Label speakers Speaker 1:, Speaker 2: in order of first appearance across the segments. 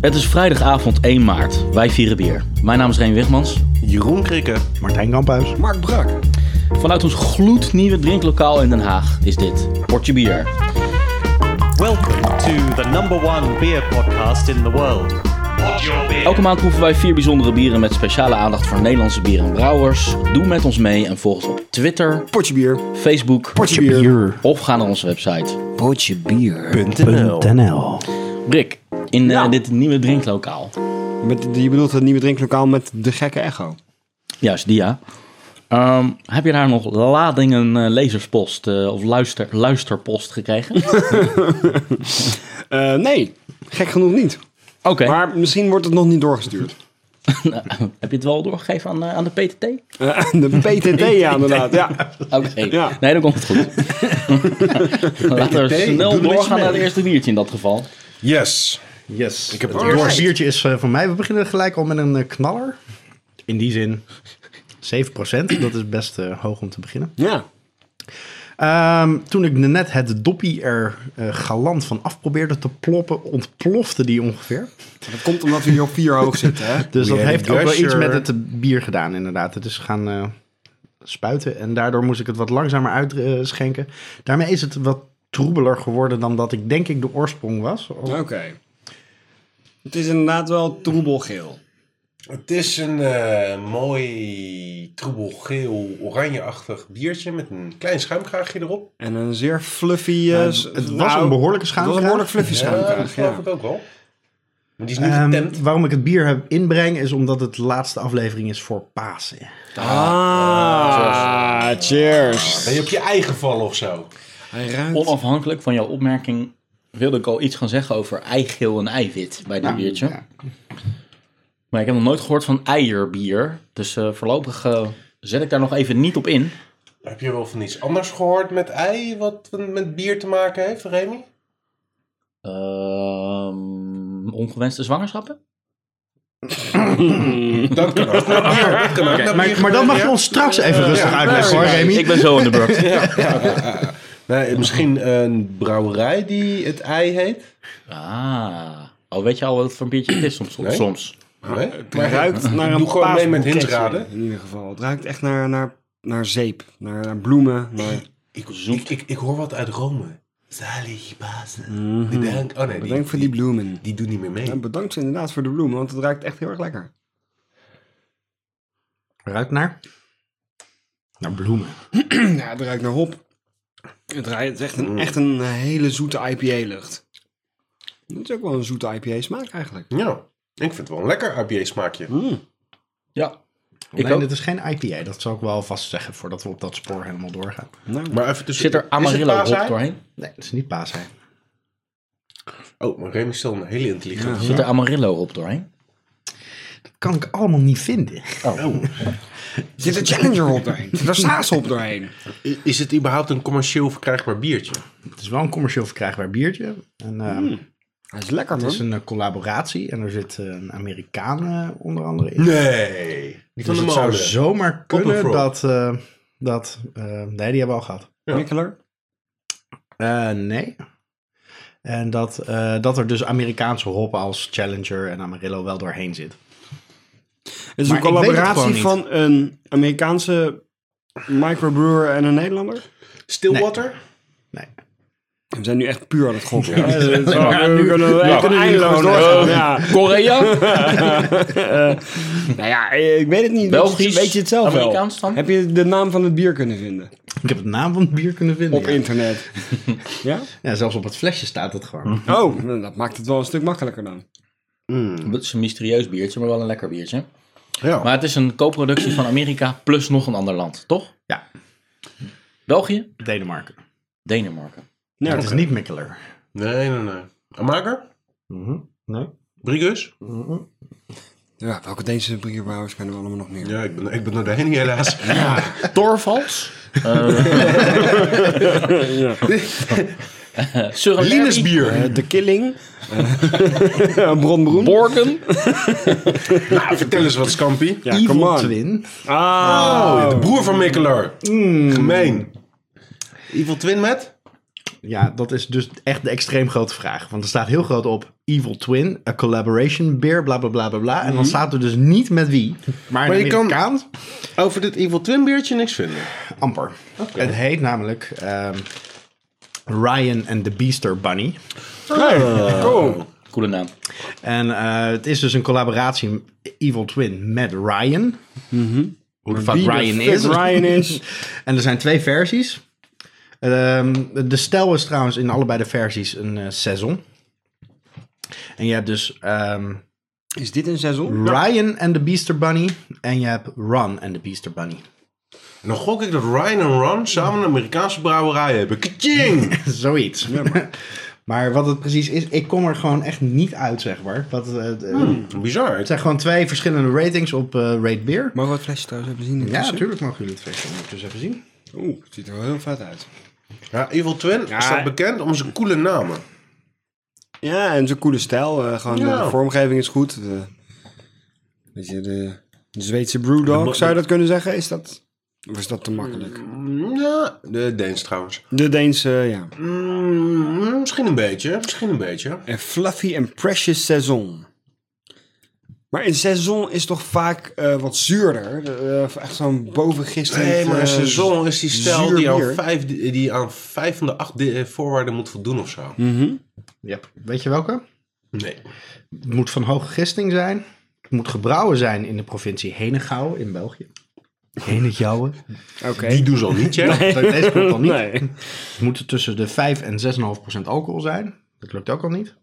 Speaker 1: Het is vrijdagavond 1 maart. Wij vieren bier. Mijn naam is Reen Wigmans.
Speaker 2: Jeroen Krikke.
Speaker 3: Martijn Kamphuis.
Speaker 4: Mark Brak.
Speaker 1: Vanuit ons gloednieuwe drinklokaal in Den Haag is dit Portje Bier.
Speaker 5: Welcome to the number one beer podcast in the world. What your beer?
Speaker 1: Elke maand proeven wij vier bijzondere bieren met speciale aandacht voor Nederlandse bieren en brouwers. Doe met ons mee en volg ons op Twitter,
Speaker 4: Potje bier.
Speaker 1: Facebook
Speaker 4: Potje bier.
Speaker 1: of ga naar onze website.
Speaker 4: Potje bier.
Speaker 3: .nl.
Speaker 1: Brik, in eh,
Speaker 4: Ja.
Speaker 1: dit nieuwe drinklokaal.
Speaker 4: Met, je bedoelt het nieuwe drinklokaal met de gekke echo.
Speaker 1: Juist, die ja. Ehm, heb je daar nog ladingen eh, lezerspost eh, of luister, luisterpost gekregen? Oké.
Speaker 4: Eh, nee, gek genoeg niet. Maar misschien wordt het nog niet doorgestuurd.
Speaker 1: Heb je het wel doorgegeven aan, eh, aan de PTT? Oké.
Speaker 4: Eh, de PTT, ja, inderdaad. Ja. Ja.
Speaker 1: Nee, dan komt het goed. Laten we snel
Speaker 2: doe
Speaker 1: doorgaan
Speaker 2: mee.
Speaker 1: naar het eerste biertje in dat geval.
Speaker 2: Yes. Yes. Ik heb het
Speaker 3: Het
Speaker 2: dorst.
Speaker 3: biertje is eh, van mij. We beginnen gelijk al met een eh, knaller. In die zin 7%. Dat is best eh, hoog om te beginnen.
Speaker 4: ja.
Speaker 3: Ehm, toen ik net het doppie er eh, galant van af probeerde te ploppen, ontplofte die ongeveer.
Speaker 4: Dat komt omdat we hier op vier hoog zitten, hè?
Speaker 2: We
Speaker 3: Dus dat
Speaker 2: had a
Speaker 3: heeft ook wel iets
Speaker 2: gusher.
Speaker 3: met het eh, bier gedaan, inderdaad. Het is gaan eh, spuiten en daardoor moest ik het wat langzamer uitschenken. Daarmee is het wat troebeler geworden dan dat ik denk ik de oorsprong was. Of-
Speaker 4: Oké. Het is inderdaad wel troebelgeel.
Speaker 2: Het is een eh, mooi troebelgeel oranjeachtig biertje met een klein schuimkraagje erop.
Speaker 4: En een zeer fluffy... eh,
Speaker 3: Maar
Speaker 4: s-
Speaker 3: het was
Speaker 4: nou,
Speaker 3: een behoorlijke
Speaker 4: Het was een
Speaker 3: schaamkraag.
Speaker 4: behoorlijk fluffy
Speaker 2: Ja, Eh, dat
Speaker 4: schuimkraag,
Speaker 2: geloof
Speaker 4: ja.
Speaker 2: ik ook wel. Maar die is nu
Speaker 3: Ehm,
Speaker 2: getemd.
Speaker 3: waarom ik het bier heb inbreng is omdat het de laatste aflevering is voor Pasen.
Speaker 4: Ah, cheers.
Speaker 2: Ben je op je eigen vallen of zo?
Speaker 4: Hij ruikt...
Speaker 1: Onafhankelijk van jouw opmerking wilde ik al iets gaan zeggen over eigeel en eiwit bij dit biertje.
Speaker 3: ja.
Speaker 1: Maar ik heb nog nooit gehoord van eierbier. Dus eh, voorlopig eh, zet ik daar nog even niet op in.
Speaker 2: Heb je wel van iets anders gehoord met ei wat met bier te maken heeft, Remy?
Speaker 1: Ehm, ongewenste zwangerschappen?
Speaker 2: Dat kan ook. naar bier. Dat kan ook naar
Speaker 3: Maar,
Speaker 2: bier
Speaker 3: maar dat mag je
Speaker 2: gebeuren.
Speaker 3: ons straks even rustig
Speaker 2: ja,
Speaker 3: uitleggen hoor,
Speaker 2: ja, ja.
Speaker 3: Remy.
Speaker 1: Ik ben zo in de beurt.
Speaker 2: Nee, misschien een brouwerij die het ei heet.
Speaker 1: Ah. Oh, weet je al wat voor een biertje het is soms?
Speaker 2: Nee.
Speaker 1: soms.
Speaker 2: Nee?
Speaker 4: Het ruikt naar een
Speaker 2: Doe gewoon mee met
Speaker 4: paasboeketje,
Speaker 2: hintraden.
Speaker 4: In ieder geval. Het ruikt echt naar, naar, naar zeep, naar, naar bloemen. Naar...
Speaker 2: Ik, ik, ik, ik hoor wat uit Rome. Zalig Pasen. Bedankt. Oh nee, die,
Speaker 4: Bedankt voor die bloemen.
Speaker 2: die doen niet meer mee.
Speaker 4: Ja, bedankt inderdaad voor de bloemen, want het ruikt echt heel erg lekker.
Speaker 3: Ruikt naar? Naar bloemen.
Speaker 4: Ja, het ruikt naar hop. Het ruikt echt een, echt een eh, hele zoete IPA-lucht. Dat is ook wel een zoete IPA-smaak eigenlijk.
Speaker 2: Ja, ik vind het wel een lekker IPA-smaakje.
Speaker 1: Ja. Ik
Speaker 3: Alleen,
Speaker 1: ook.
Speaker 3: dit is geen IPA, dat zal ik wel vast zeggen voordat we op dat spoor helemaal doorgaan.
Speaker 4: Nou,
Speaker 2: Maar even tussen...
Speaker 1: Zit er
Speaker 2: Is
Speaker 1: Amarillo
Speaker 2: het
Speaker 1: hop
Speaker 2: paasei?
Speaker 1: doorheen?
Speaker 3: Nee, het is niet Pasen.
Speaker 2: Oh, maar Remy is wel een hele intelligente.
Speaker 1: Zit er Amarillo hop doorheen?
Speaker 3: Kan ik allemaal niet vinden.
Speaker 2: Oh.
Speaker 4: zit er Challenger hop doorheen? Zit er Saas hop doorheen?
Speaker 2: I- Is het überhaupt een commercieel verkrijgbaar biertje?
Speaker 3: Het is wel een commercieel verkrijgbaar biertje. En, eh,
Speaker 2: Hmm.
Speaker 4: Hij is lekker,
Speaker 3: Het
Speaker 4: man.
Speaker 3: is een eh, collaboratie en er zit eh, een Amerikaan eh, onder andere in.
Speaker 2: Nee. Die van
Speaker 3: dus
Speaker 2: de
Speaker 3: het zou
Speaker 2: molen.
Speaker 3: zomaar kunnen
Speaker 2: Copperfrog.
Speaker 3: dat... eh, dat eh, nee, die hebben we al gehad.
Speaker 4: Mikkeler?
Speaker 3: Eh, nee. En dat, eh, dat er dus Amerikaanse hoppen als Challenger en Amarillo wel doorheen zit.
Speaker 4: Het is
Speaker 3: Maar ik weet
Speaker 4: een
Speaker 3: het
Speaker 4: collaboratie
Speaker 3: gewoon
Speaker 4: van een Amerikaanse microbrewer en een Nederlander.
Speaker 2: Stillwater?
Speaker 3: Nee.
Speaker 4: We zijn nu echt puur aan het gokken. Ja,
Speaker 3: maar nu-
Speaker 4: we kunnen, we kunnen eindeloos doorgaan. Ja.
Speaker 1: Korea?
Speaker 4: Nou ja, eh, ik weet het niet.
Speaker 1: Belgisch,
Speaker 4: weet je, weet je het zelf
Speaker 1: Amerikaans
Speaker 4: wel?
Speaker 1: dan?
Speaker 4: Heb je de naam van het bier kunnen vinden?
Speaker 3: Ik heb het naam van het bier kunnen vinden.
Speaker 4: Op
Speaker 3: ja.
Speaker 4: internet. ja?
Speaker 3: Ja, zelfs op het flesje staat het gewoon.
Speaker 4: Oh, nou, dat maakt het wel een stuk makkelijker dan.
Speaker 1: Het is een mysterieus biertje, maar wel een lekker biertje.
Speaker 2: Ja.
Speaker 1: Maar het is een co-productie van Amerika plus nog een ander land, toch?
Speaker 3: Ja.
Speaker 1: België?
Speaker 3: Denemarken.
Speaker 1: Denemarken.
Speaker 4: Nee,
Speaker 3: Het is niet Mikkeler.
Speaker 2: Nee, nee, nee. Een maker?
Speaker 3: Nee.
Speaker 2: Brigus?
Speaker 4: Ja, welke deze bierbrouwers kennen we allemaal nog meer?
Speaker 2: Ja, ik ben, ik ben er doorheen helaas. Ja.
Speaker 1: Torvals? Eh Surinaam?
Speaker 2: Linusbier.
Speaker 4: Eh, De Killing. Eh, Bronbroen.
Speaker 1: Borgen?
Speaker 2: Nou, vertel eens wat, Scampi.
Speaker 4: ja, come
Speaker 3: Evil
Speaker 4: on.
Speaker 3: Twin.
Speaker 4: Ah,
Speaker 2: De broer van Mikkeler. Gemeen. Evil Twin met?
Speaker 3: Ja, dat is dus echt de extreem grote vraag. Want er staat heel groot op Evil Twin, a collaboration beer, bla bla bla bla bla. En dan staat er dus niet met wie. Maar,
Speaker 2: Maar
Speaker 3: in
Speaker 2: je kan-
Speaker 3: Amerikaans,
Speaker 2: Over dit Evil Twin biertje niks vinden.
Speaker 3: amper. Het heet namelijk ehm, Ryan and the Beaster Bunny.
Speaker 1: Coole naam.
Speaker 3: En eh, het is dus een collaboratie Evil Twin met Ryan. Hoe de fuck
Speaker 4: Wie de
Speaker 3: Ryan
Speaker 4: fuck
Speaker 3: is.
Speaker 4: Ryan is.
Speaker 3: en er zijn twee versies. Ehm, de stijl is trouwens in allebei de versies een eh, saison. En je hebt dus ehm,
Speaker 4: Is dit een seizoen?
Speaker 3: Ryan en de Beaster Bunny. En je hebt Ron en de Beaster Bunny.
Speaker 2: En dan gok ik dat Ryan en Ron samen een Amerikaanse brouwerij hebben. Kaching!
Speaker 3: Zoiets. maar wat het precies is, ik kom er gewoon echt niet uit, zeg maar. Wat, eh, eh,
Speaker 2: Bizar.
Speaker 3: Het zijn gewoon twee verschillende ratings op eh Rate Beer.
Speaker 4: Mogen we het flesje trouwens even zien?
Speaker 3: Ja, natuurlijk mogen jullie het flesje ondertussen even zien.
Speaker 4: Oeh, het ziet er wel heel vet uit.
Speaker 2: Ja, Evil Twin staat bekend om zijn coole namen.
Speaker 4: Ja, en zo'n coole stijl. eh, gewoon
Speaker 2: Ja.
Speaker 4: de vormgeving is goed. De, weet je, de, de Zweedse Brewdog, zou je dat kunnen zeggen? Is dat, of is dat te makkelijk?
Speaker 2: Ja, de Deens trouwens.
Speaker 4: De Deense, ja.
Speaker 2: Mm, misschien een beetje, misschien een beetje.
Speaker 4: En Fluffy and Precious Saison. Maar een saison is toch vaak eh, wat zuurder? Eh, echt zo'n eh, bovengisteren.
Speaker 2: Nee, maar een seizoen is die stijl
Speaker 4: zuur
Speaker 2: die aan,
Speaker 4: bier.
Speaker 2: vijf, die aan vijf van de acht de- voorwaarden moet voldoen of zo.
Speaker 3: Ja. Weet je welke?
Speaker 2: Hmm. Nee.
Speaker 3: Het moet van hoge gisting zijn. Het moet gebrouwen zijn in de provincie Henegouwen in België. Henegouwen.
Speaker 4: Oké.
Speaker 2: Die doen ze al niet, hè?
Speaker 3: Deze komt al niet.
Speaker 4: Nee.
Speaker 3: Het moet tussen de 5 en 6,5 procent alcohol zijn. Dat lukt ook al niet.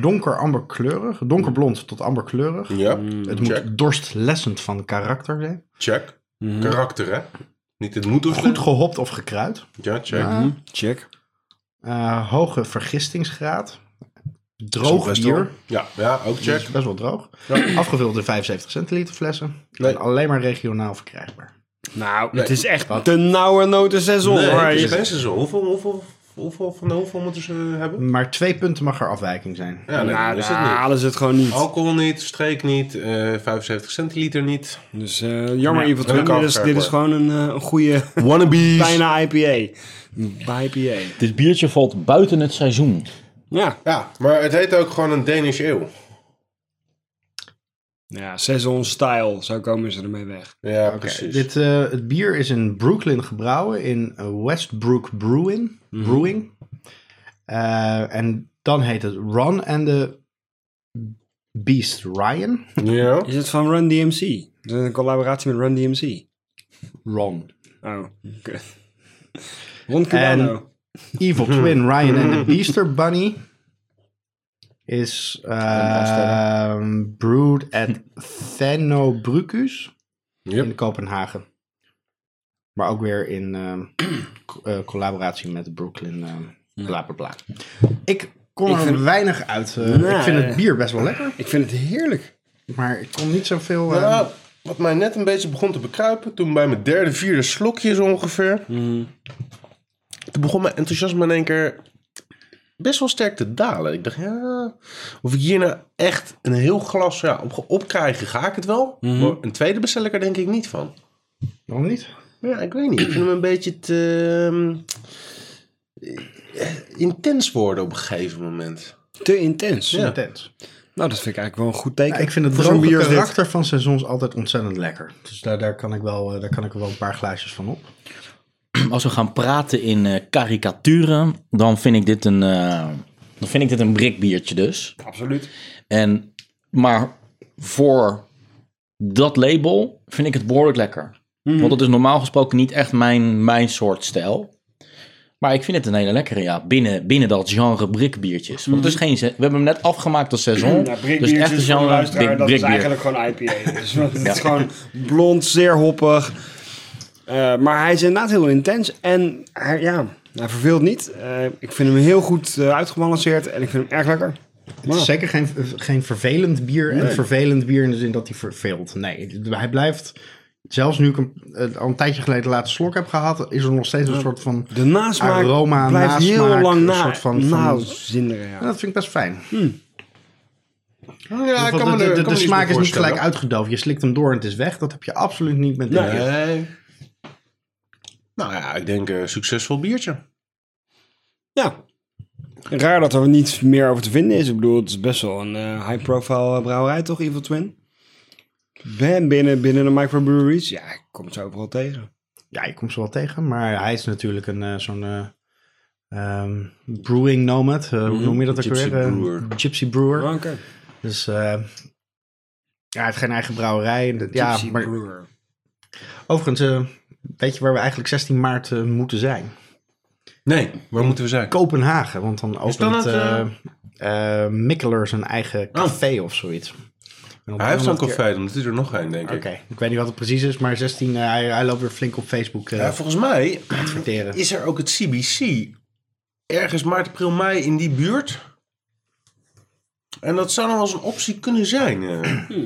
Speaker 3: Donker amberkleurig. Donkerblond tot amberkleurig.
Speaker 2: Ja,
Speaker 3: Het
Speaker 2: check,
Speaker 3: moet dorstlessend van karakter zijn.
Speaker 2: check. Karakter, hè? Niet het moet of
Speaker 3: Goed
Speaker 2: zijn.
Speaker 3: gehopt of gekruid.
Speaker 2: Ja, check.
Speaker 4: Hm, Check.
Speaker 3: Eh, hoge vergistingsgraad.
Speaker 2: Zo'n
Speaker 3: Droog
Speaker 2: best
Speaker 3: bier.
Speaker 2: wel. Ja, ja, ook
Speaker 3: Dat
Speaker 2: check.
Speaker 3: is Dus best wel droog. Afgevuld in 75 centiliter flessen.
Speaker 2: Nee.
Speaker 3: En alleen maar regionaal verkrijgbaar.
Speaker 4: Nou,
Speaker 2: Nee.
Speaker 4: het is echt de nauwe noten saison.
Speaker 2: Nee,
Speaker 4: hoor.
Speaker 2: het is
Speaker 4: Je-
Speaker 2: geen seizoen. Hoeveel, hoeveel, hoeveel van de hoeveel moeten ze hebben?
Speaker 3: Maar twee punten mag er afwijking zijn.
Speaker 2: Ja, nee,
Speaker 4: nou,
Speaker 2: dan is
Speaker 4: daar
Speaker 2: het niet.
Speaker 4: halen ze het gewoon niet.
Speaker 2: Alcohol niet, streek niet, eh, 75 centiliter niet.
Speaker 4: Dus eh, jammer, in ieder geval.
Speaker 2: dat kan
Speaker 4: Dit is, dit is
Speaker 2: verkopen.
Speaker 4: gewoon een, eh, een goede,
Speaker 2: Wannabes.
Speaker 4: bijna IPA. IPA.
Speaker 1: Dit biertje valt buiten het seizoen.
Speaker 4: Ja.
Speaker 2: Ja, maar het heet ook gewoon een Danish eeuw.
Speaker 4: Ja, saison style. Zo komen ze ermee weg.
Speaker 2: Ja,
Speaker 3: Oké,
Speaker 2: precies.
Speaker 3: dit, eh, het bier is in Brooklyn gebrouwen, in eh, Westbrook Brewing.
Speaker 2: Mhm.
Speaker 3: Brewing. Eh, en dan heet het Ron and the Beast Ryan.
Speaker 2: Ja.
Speaker 4: Is het van Run DMC? Is het een collaboratie met Run DMC?
Speaker 3: Ron.
Speaker 4: Oh, oké. Ron Cubano.
Speaker 3: Evil
Speaker 4: Hmm.
Speaker 3: Twin Ryan and the Beaster Bunny is eh, brewed at Fenobrucus in
Speaker 2: Yep.
Speaker 3: Kopenhagen. Maar ook weer in ehm, co- eh, collaboratie met Brooklyn, ehm bla bla bla. Ik kon
Speaker 4: Hmm. Ik
Speaker 3: er
Speaker 4: vind-
Speaker 3: weinig uit. eh,
Speaker 4: Nee.
Speaker 3: Ik vind het bier best wel lekker,
Speaker 4: Ik vind het heerlijk.
Speaker 3: maar ik kon niet zoveel... eh,
Speaker 2: Nou, wat mij net een beetje begon te bekruipen, toen bij mijn derde, vierde slokje zo ongeveer, toen begon mijn enthousiasme in één keer best wel sterk te dalen. Ik dacht, ja, of ik hier nou echt een heel glas ja, op opkrijgen, ga ik het wel. Maar een tweede bestel ik er denk ik niet van.
Speaker 3: Waarom niet?
Speaker 2: Ja, ik weet niet. Ik vind hem een beetje te ehm, eh, intens worden op een gegeven moment.
Speaker 4: Te intens.
Speaker 2: Ja.
Speaker 3: Intens.
Speaker 4: Nou, dat vind ik eigenlijk wel een goed teken.
Speaker 3: Ja, ik vind het
Speaker 4: Voor zo'n
Speaker 3: droge
Speaker 4: bier als dit.
Speaker 3: karakter van seizoens altijd ontzettend lekker. Dus daar, daar, kan ik wel, eh, daar kan ik er wel een paar glaasjes van op.
Speaker 1: Als we gaan praten in eh, karikaturen, dan vind ik dit een, eh, dan vind ik dit een brikbiertje dus.
Speaker 4: Absoluut.
Speaker 1: En, maar voor dat label vind ik het behoorlijk lekker.
Speaker 4: Mhm.
Speaker 1: Want dat is normaal gesproken niet echt mijn, mijn soort stijl. Maar ik vind het een hele lekkere, ja, binnen, binnen dat genre brikbiertjes. Want het is geen, se- we hebben hem net afgemaakt als seizoen.
Speaker 4: Mhm. Ja,
Speaker 1: dus echt eh, een genre brik-
Speaker 4: dat is
Speaker 1: brikbier.
Speaker 4: eigenlijk gewoon IPA. Dus want het is gewoon blond, zeer hoppig. Eh, maar hij is inderdaad heel intens. En hij, ja, hij verveelt niet. Eh, ik vind hem heel goed eh, uitgebalanceerd. En ik vind hem erg lekker.
Speaker 3: Het is
Speaker 4: Ja.
Speaker 3: zeker geen, geen vervelend bier. En vervelend bier in de zin dat hij verveelt. Nee, hij blijft... Zelfs nu ik hem eh, al een tijdje geleden de laatste slok heb gehad... is er nog steeds een soort van...
Speaker 4: De nasmaak
Speaker 3: Aroma,
Speaker 4: blijft heel
Speaker 3: nasmaak,
Speaker 4: lang
Speaker 3: een
Speaker 4: na.
Speaker 3: soort van- van-
Speaker 4: nazinderen, ja.
Speaker 3: En dat vind ik best fijn.
Speaker 2: Ja, ik
Speaker 3: Want
Speaker 2: kan me
Speaker 3: de,
Speaker 2: er-
Speaker 3: de-
Speaker 2: kan me
Speaker 3: de
Speaker 2: iets
Speaker 3: smaak
Speaker 2: meer
Speaker 3: is niet gelijk
Speaker 2: voorstellen.
Speaker 3: uitgedoofd. Je slikt hem door en het is weg. Dat heb je absoluut niet met dit bier.
Speaker 2: Nee. Nou ja, ik denk eh, succesvol biertje.
Speaker 4: Ja. Raar dat er niets meer over te vinden is. Ik bedoel, het is best wel een eh, high-profile eh, brouwerij, toch, Evil Twin? Ben binnen, binnen de microbreweries. Ja, ik kom ze overal tegen.
Speaker 3: Ja, je komt ze wel tegen, maar hij is natuurlijk een eh, zo'n eh, ehm, brewing nomad. eh, Hoe noem je dat ook
Speaker 2: Mhm. Gypsy
Speaker 3: weer? Een
Speaker 2: brewer.
Speaker 3: Gypsy brewer.
Speaker 4: Oké.
Speaker 3: Dus eh, ja, hij heeft geen eigen brouwerij. En dat- Ja, maar
Speaker 4: brewer.
Speaker 3: overigens, eh, weet je waar we eigenlijk 16 maart eh, moeten zijn?
Speaker 2: Nee, waar moeten we zijn?
Speaker 3: Kopenhagen, want dan
Speaker 2: dat
Speaker 3: opent
Speaker 2: het,
Speaker 3: eh eh, Oh. Mikkeler zijn eigen café of zoiets.
Speaker 2: Hij heeft zo'n
Speaker 3: keer-
Speaker 2: café, dan doet hij er nog een, denk ik.
Speaker 3: Oké, ik weet niet wat het precies is, maar 16, eh, hij, hij loopt weer flink op Facebook eh
Speaker 2: Ja, volgens mij
Speaker 3: adverteren.
Speaker 2: is er ook het CBC. Ergens maart, april, mei in die buurt. En dat zou nog wel eens een optie kunnen zijn. eh.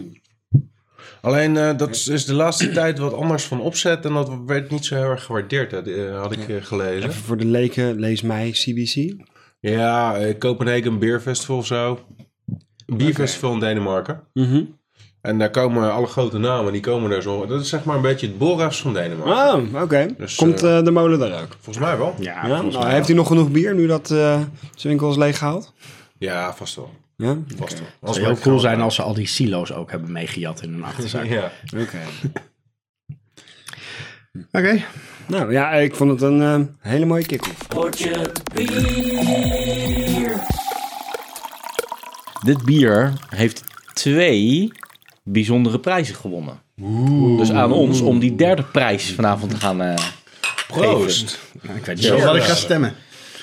Speaker 2: Alleen eh, dat is- is de laatste tijd wat anders van opzet. En dat werd niet zo heel erg gewaardeerd, hè, die, eh, had ik eh, gelezen.
Speaker 4: Even voor de leken, lees mij CBC.
Speaker 2: Ja, eh, Copenhagen Beer Festival of zo. Een bierfestival in Denemarken.
Speaker 4: Mhm.
Speaker 2: En daar komen alle grote namen, die komen daar zo. Dat is zeg maar een beetje het Boras van Denemarken.
Speaker 4: Oh, oké.
Speaker 2: Dus,
Speaker 4: Komt eh, de molen daar ook?
Speaker 2: Volgens mij wel.
Speaker 3: Ja,
Speaker 4: Ja, nou, heeft hij nog genoeg bier nu dat eh, zijn winkel is leeggehaald?
Speaker 2: Ja, vast wel.
Speaker 4: Ja?
Speaker 2: Vast wel.
Speaker 3: het
Speaker 2: Als
Speaker 3: zou heel cool zijn als ze al die silo's ook hebben meegejat in hun achterzak.
Speaker 2: Ja.
Speaker 4: Oké.
Speaker 3: Oké,
Speaker 4: Nou ja, ik vond het een eh, hele mooie kick-off.
Speaker 1: Dit bier heeft twee bijzondere prijzen gewonnen. Dus aan ons om die derde prijs vanavond te gaan eh,
Speaker 2: Proost.
Speaker 3: Nou, ik weet niet zo wat ik ga stemmen.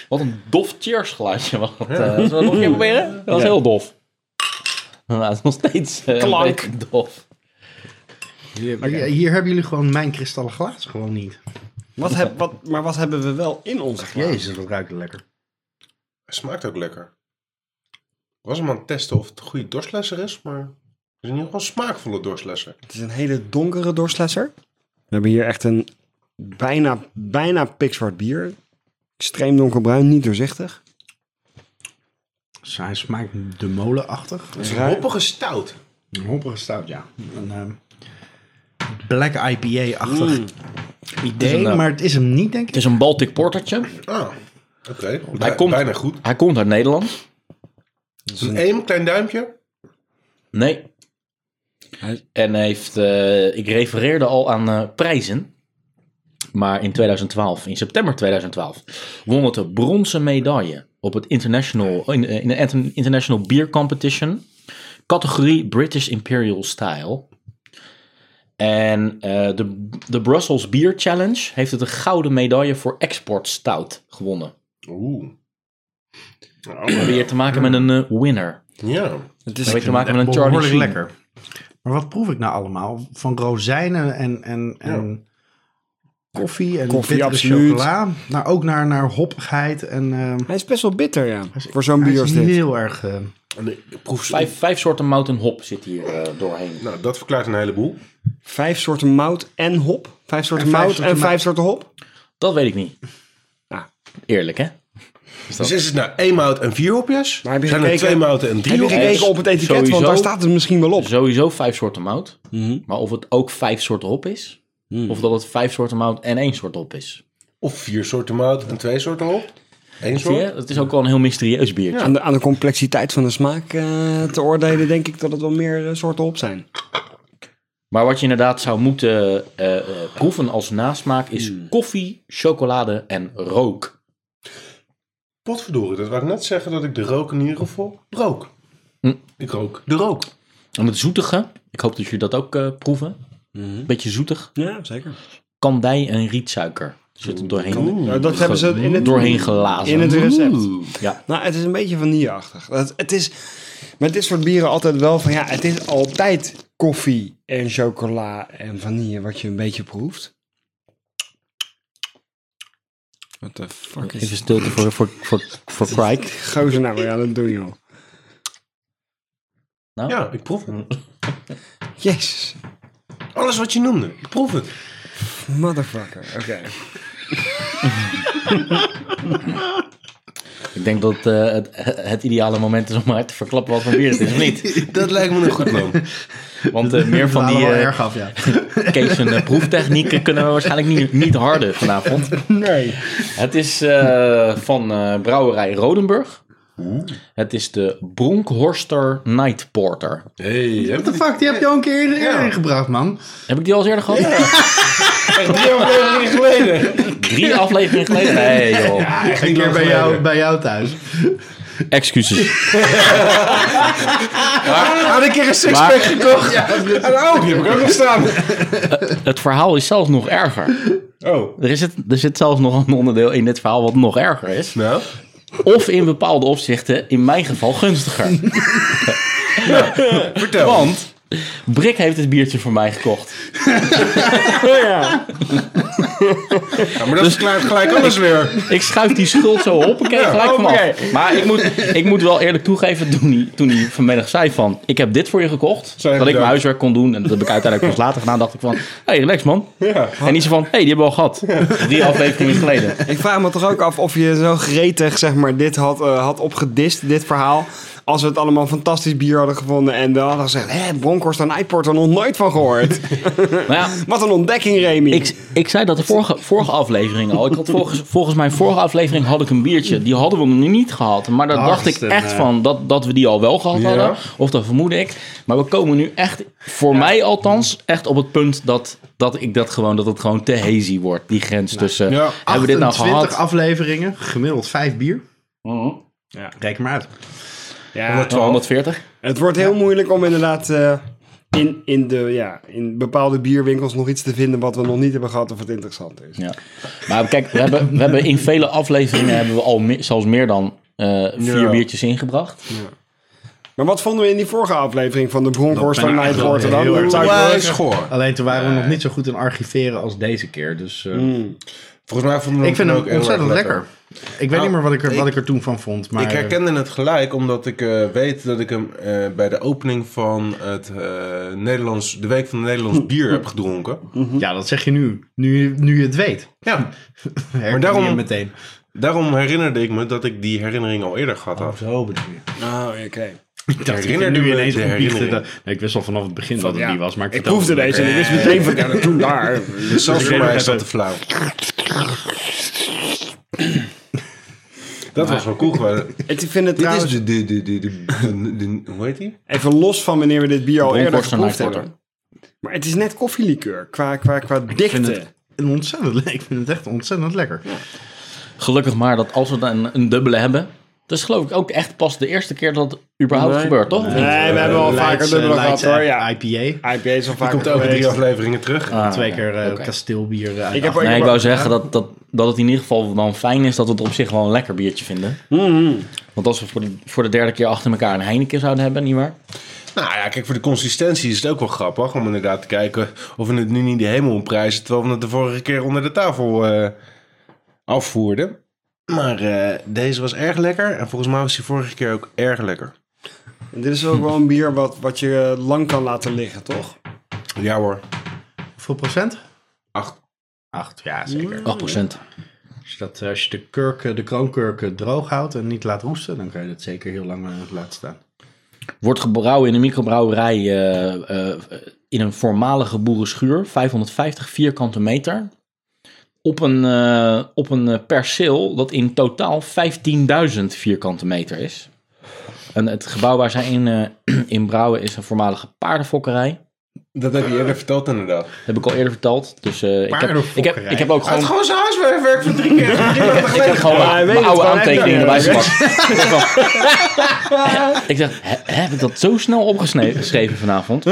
Speaker 1: Wat een dof cheers geluidje was dat. eh. zullen we het nog een keer proberen? Dat was heel dof. Nou, het is nog steeds eh, een
Speaker 4: Klank.
Speaker 1: beetje dof.
Speaker 3: Hier, hier hebben jullie gewoon mijn kristallen glaas gewoon niet.
Speaker 4: Wat heb, wat, maar wat hebben we wel in onze glazen?
Speaker 3: Jezus, dat ruikt lekker.
Speaker 2: Het smaakt ook lekker. Ik was hem aan het testen of het een goede dorslesser is, maar het is in ieder geval een smaakvolle dorslesser.
Speaker 4: Het is een hele donkere dorslesser. We hebben hier echt een bijna, bijna pikzwart bier. Extreem donkerbruin, niet doorzichtig.
Speaker 3: Dus hij smaakt de molenachtig.
Speaker 2: Het is een
Speaker 4: Raar.
Speaker 2: hoppige stout.
Speaker 3: Een hoppige stout, ja. Een ehm, black IPA-achtig idee,
Speaker 1: Het is een, eh,
Speaker 3: Mm, maar het is hem niet, denk
Speaker 1: Het
Speaker 3: ik.
Speaker 1: is een Baltic Portertje.
Speaker 2: Ah, oké.
Speaker 1: Hij
Speaker 2: Bij-
Speaker 1: komt-
Speaker 2: Bijna goed.
Speaker 1: Hij komt uit Nederland.
Speaker 2: Het is een één klein duimpje.
Speaker 1: Nee.
Speaker 4: Hij-
Speaker 1: En heeft, eh, ik refereerde al aan eh, prijzen. Maar in 2012, in september 2012, won het een bronzen medaille op het international, in, in de Inter- International Beer Competition. Categorie British Imperial Style. En eh, de, de Brussels Beer Challenge heeft het een gouden medaille voor export stout gewonnen.
Speaker 2: Oeh.
Speaker 1: We hebben hier te maken met een eh, winner.
Speaker 2: Ja.
Speaker 4: Het
Speaker 1: We
Speaker 4: is
Speaker 1: hebben hier te maken met een Charlie
Speaker 3: Behoorlijk
Speaker 1: Sheen.
Speaker 3: lekker. Maar wat proef ik nou allemaal? Van rozijnen en, en, en koffie en
Speaker 4: Koffie,
Speaker 3: bittere
Speaker 4: absoluut.
Speaker 3: chocola. Nou, ook naar, naar hoppigheid en... ehm,
Speaker 4: Hij is best wel bitter, ja. Voor zo'n
Speaker 3: hij
Speaker 4: bier als
Speaker 3: is
Speaker 4: dit.
Speaker 3: heel erg... ehm,
Speaker 2: En ik proef
Speaker 1: Vijf, vijf soorten mout en hop zit hier eh, doorheen.
Speaker 2: Nou, dat verklaart een heleboel.
Speaker 4: Vijf soorten mout en hop. Vijf soorten
Speaker 3: En vijf
Speaker 4: mout
Speaker 3: soorten
Speaker 4: en vijf
Speaker 3: mout.
Speaker 4: soorten hop.
Speaker 1: Dat weet ik niet.
Speaker 4: Ah.
Speaker 1: Eerlijk, hè?
Speaker 2: Dus is het nou één mout en vier hopjes?
Speaker 4: Maar heb je
Speaker 2: Zijn er
Speaker 4: gekeken-
Speaker 2: twee mouten en
Speaker 4: Heb
Speaker 2: drie
Speaker 4: je
Speaker 2: hopjes?
Speaker 4: gekeken op het etiket? Want
Speaker 1: Sowieso.
Speaker 4: daar staat het misschien wel op.
Speaker 1: Sowieso vijf soorten mout.
Speaker 4: Mhm.
Speaker 1: Maar of het ook vijf soorten hop is. Of dat het vijf soorten mout en één soort hop is.
Speaker 2: Of vier soorten mout en twee soorten hop? Eén
Speaker 1: Zie je?
Speaker 2: soort?
Speaker 1: Het is ook wel een heel mysterieus biertje.
Speaker 4: Aan, de, aan de complexiteit van de smaak eh, te oordelen, denk ik dat het wel meer eh, soorten hop zijn.
Speaker 1: Maar wat je inderdaad zou moeten eh, eh, proeven als nasmaak is
Speaker 4: Mhm.
Speaker 1: koffie, chocolade en rook.
Speaker 2: Potverdorie, dat wou ik net zeggen dat ik de rook in ieder geval rook.
Speaker 1: Hm.
Speaker 2: Ik rook de rook.
Speaker 1: En het zoetige, ik hoop dat jullie dat ook eh, proeven.
Speaker 4: Mhm.
Speaker 1: Beetje zoetig.
Speaker 4: Ja, zeker.
Speaker 1: Kandij en rietsuiker zit er doorheen.
Speaker 4: Nou, dat hebben ze in het,
Speaker 1: doorheen glazen.
Speaker 4: in het recept.
Speaker 1: Ja.
Speaker 4: Nou, het is een beetje vanilleachtig. Het, het is met dit soort bieren altijd wel van ja, het is altijd koffie en chocola en vanille wat je een beetje proeft. What the fuck is
Speaker 1: Even stilte voor, voor, voor, voor Crike.
Speaker 4: Gozer nou weer aan het doen, joh.
Speaker 1: Nou,
Speaker 2: Ja, ik proef het.
Speaker 4: Jezus,
Speaker 2: Alles wat je noemde, ik proef het.
Speaker 4: motherfucker. Oké.
Speaker 1: Ik Ik denk dat eh, het, het ideale moment is om maar te verklappen wat voor bier het is, of niet?
Speaker 2: Dat lijkt me een goed plan.
Speaker 1: Want eh, meer van
Speaker 3: Van
Speaker 1: die
Speaker 3: nou, wel
Speaker 1: eh
Speaker 3: erg af, ja.
Speaker 1: Kees' eh, proeftechnieken kunnen we waarschijnlijk niet, niet harden vanavond.
Speaker 4: Nee.
Speaker 1: Het is eh, van eh, brouwerij Rodenburg. Het is de Bronkhorster Night Porter.
Speaker 2: Hey, je hebt
Speaker 3: What the fuck, die heb je al een keer eerder
Speaker 2: Ja.
Speaker 3: ingebracht, man.
Speaker 1: Heb ik die al eens eerder gehad?
Speaker 2: echt drie afleveringen geleden.
Speaker 1: Drie afleveringen geleden? Nee, joh.
Speaker 2: Echt
Speaker 3: Een keer bij jou, bij jou thuis.
Speaker 1: Excuses.
Speaker 3: Ah.
Speaker 4: Had ik er een sixpack gekocht?
Speaker 2: En oh, die heb ik ook nog staan.
Speaker 1: Het verhaal is zelfs nog erger.
Speaker 2: Oh.
Speaker 1: Er, is het, er zit zelfs nog een onderdeel in dit verhaal wat nog erger is.
Speaker 2: Nou,
Speaker 1: Of in bepaalde opzichten, in mijn geval, gunstiger.
Speaker 2: vertel.
Speaker 1: Want Brik heeft het biertje voor mij gekocht.
Speaker 4: Ja.
Speaker 2: Ja, maar dat verklaart gelijk alles weer.
Speaker 1: Ik schuif die schuld zo op en gelijk vanaf.
Speaker 4: hoppakee.
Speaker 1: Maar ik moet, ik moet wel eerlijk toegeven, toen hij, toen hij vanmiddag zei van... Ik heb dit voor je gekocht,
Speaker 2: Zei
Speaker 1: dat ik mijn
Speaker 2: bedankt.
Speaker 1: huiswerk kon doen. En dat heb ik uiteindelijk pas later gedaan. dacht ik van, hé, hey, relax man.
Speaker 2: Ja.
Speaker 1: En niet zo van, hé, hey, die hebben we al gehad. Drie afleveringen geleden.
Speaker 4: Ik vraag me toch ook af of je zo gretig zeg maar, dit had, eh, had opgedist, dit verhaal. Als we het allemaal fantastisch bier hadden gevonden en we hadden gezegd... Hé, Bronkhorst en Eiport, er nog nooit van gehoord.
Speaker 1: Nou ja,
Speaker 4: Wat een ontdekking, Remy.
Speaker 1: Ik, ik zei dat de vorige, vorige aflevering al. Ik had volgens, volgens mijn vorige aflevering had ik een biertje. Die hadden we nog niet gehad. Maar daar dacht ik
Speaker 3: Hartstikke.
Speaker 1: echt van dat, dat we die al wel gehad
Speaker 2: Ja.
Speaker 1: hadden. Of dat vermoed ik. Maar we komen nu echt, voor mij althans, echt op het punt dat, dat ik dat gewoon, dat het gewoon te hazy wordt. Die grens tussen,
Speaker 2: Ja.
Speaker 1: hebben we dit nou
Speaker 3: 28
Speaker 1: gehad?
Speaker 3: afleveringen, gemiddeld 5 bier.
Speaker 1: Mhm.
Speaker 3: Reken maar uit.
Speaker 4: ja,
Speaker 1: 140?
Speaker 4: het wordt heel moeilijk om inderdaad... eh, in, in, de, ja, in bepaalde bierwinkels nog iets te vinden wat we nog niet hebben gehad of wat interessant is.
Speaker 1: Ja. Maar kijk, we hebben, we hebben in vele afleveringen hebben we al me- zelfs meer dan eh, vier
Speaker 2: Ja.
Speaker 1: biertjes ingebracht.
Speaker 4: Maar wat vonden we in die vorige aflevering van de Bronkhorst
Speaker 3: Dat
Speaker 4: en
Speaker 3: ben ik
Speaker 4: Eiport
Speaker 3: wel heel
Speaker 4: dan?
Speaker 3: erg
Speaker 4: Zou ik wel
Speaker 2: Onwijs
Speaker 4: zeggen-
Speaker 2: schoor.
Speaker 3: Alleen toen waren we nog niet zo goed in archiveren als deze keer. Dus eh,
Speaker 2: Volgens mij vonden we
Speaker 3: ik vind
Speaker 2: ook
Speaker 3: hem
Speaker 2: heel erg
Speaker 3: ontzettend lekker. Ik weet
Speaker 2: Nou,
Speaker 3: niet meer wat ik, er, wat
Speaker 2: ik-
Speaker 3: ik er toen van vond. Maar eh,
Speaker 2: Ik herkende het gelijk omdat ik eh, weet dat ik hem eh, bij de opening van het, eh, Nederlands, de Week van het Nederlands Bier heb gedronken.
Speaker 3: eh, Ja, dat zeg je nu. Nu, nu je het weet.
Speaker 2: Ja,
Speaker 3: Herken maar
Speaker 2: daarom-
Speaker 3: je hem meteen.
Speaker 2: daarom herinnerde ik me dat ik die herinnering al eerder gehad had.
Speaker 3: Zo bedoel je.
Speaker 4: Oh, oké.
Speaker 3: Ik dacht,
Speaker 2: Herinnerde
Speaker 3: herinnerde
Speaker 2: me
Speaker 3: nu ineens
Speaker 2: de
Speaker 3: opbiechten.
Speaker 2: herinnering.
Speaker 3: dat- Nee, ik wist al vanaf het begin dat het
Speaker 4: Ja.
Speaker 3: die was. Maar ik,
Speaker 4: Ik
Speaker 3: vertelde
Speaker 4: proefde
Speaker 3: het
Speaker 4: deze en
Speaker 3: lekker.
Speaker 4: ik wist meteen van, ja, dat toen daar.
Speaker 2: Dus Zelfs voor
Speaker 3: ik
Speaker 2: mij
Speaker 3: weet
Speaker 2: is dat
Speaker 3: nog
Speaker 2: te flauw. Dat was wel cool geworden.
Speaker 4: Ik vind het
Speaker 2: Dit is dus-
Speaker 4: trouwens,
Speaker 2: de, de, de, de, de, de- de- Hoe heet die?
Speaker 4: even los van wanneer we dit bier al eerder
Speaker 1: Bronkhorst en
Speaker 4: geproefd
Speaker 1: Nijporter.
Speaker 4: hebben. Maar het is net koffielikeur, qua, qua, qua
Speaker 3: Ik vind,
Speaker 4: dikte.
Speaker 3: het een ontzettend, le- ik vind het echt ontzettend lekker.
Speaker 1: Gelukkig maar dat als we dan een, een dubbele hebben. Dat is geloof ik ook echt pas de eerste keer dat het überhaupt
Speaker 4: Nee.
Speaker 1: gebeurt, toch?
Speaker 4: Nee, we hebben al vaker
Speaker 3: Leids,
Speaker 4: dubbele
Speaker 3: eh,
Speaker 4: gehad
Speaker 3: Leids,
Speaker 4: hoor,
Speaker 3: eh,
Speaker 4: ja.
Speaker 3: IPA.
Speaker 4: IPA is al vaker
Speaker 2: Komt over drie
Speaker 4: geweest.
Speaker 2: afleveringen terug.
Speaker 1: Ah,
Speaker 3: Twee
Speaker 1: ja.
Speaker 3: keer eh,
Speaker 1: Oké.
Speaker 3: kasteelbier. eh, uit
Speaker 4: Ik heb
Speaker 3: Acht-
Speaker 4: ook-
Speaker 1: Nee, ik wou zeggen dat, dat, dat het in ieder geval dan fijn is dat we het op zich wel een lekker biertje vinden.
Speaker 3: Mhm.
Speaker 1: Want als we voor de, voor de derde keer achter elkaar een Heineken zouden hebben, nietwaar?
Speaker 2: Nou ja, kijk, voor de consistentie is het ook wel grappig om inderdaad te kijken of we het nu niet de hemel omprijzen, terwijl we het de vorige keer onder de tafel eh, afvoerden. Maar eh, deze was erg lekker en volgens mij was die vorige keer ook erg lekker.
Speaker 4: En dit is ook wel een bier wat, wat je eh, lang kan laten liggen, toch?
Speaker 2: Ja hoor,
Speaker 3: Hoeveel procent?
Speaker 2: acht.
Speaker 3: Acht, ja
Speaker 4: Mm.
Speaker 3: zeker.
Speaker 1: 8%.
Speaker 3: Als je, dat, als je de, kurk, eh, de kroonkurk eh, droog houdt en niet laat roesten, dan kan je dat zeker heel lang eh, laten staan.
Speaker 1: Wordt gebrouwen in een microbrouwerij eh, eh, in een voormalige boerenschuur, 550 vierkante meter. Op een, eh, op een eh, perceel dat in totaal 15.000 vierkante meter is. En het gebouw waar zij in, eh, in brouwen is een voormalige paardenfokkerij.
Speaker 2: Dat heb je eerder verteld inderdaad.
Speaker 1: Dat heb ik al eerder verteld. Dus eh, ik, heb, ik, heb,
Speaker 3: Paardenfokkerij.
Speaker 1: ik heb ook
Speaker 2: Hij had
Speaker 1: gewoon,
Speaker 2: gewoon zijn huiswerk van drie keer. drie maanden
Speaker 1: ik heb
Speaker 2: geleden.
Speaker 1: gewoon
Speaker 4: Ja, hij weet
Speaker 1: mijn
Speaker 4: het
Speaker 1: oude
Speaker 4: wel, hè?
Speaker 1: aantekeningen
Speaker 4: Ja,
Speaker 1: erbij
Speaker 4: ja.
Speaker 1: gepakt. ik dacht, "Hè, heb ik dat zo snel opgeschreven vanavond?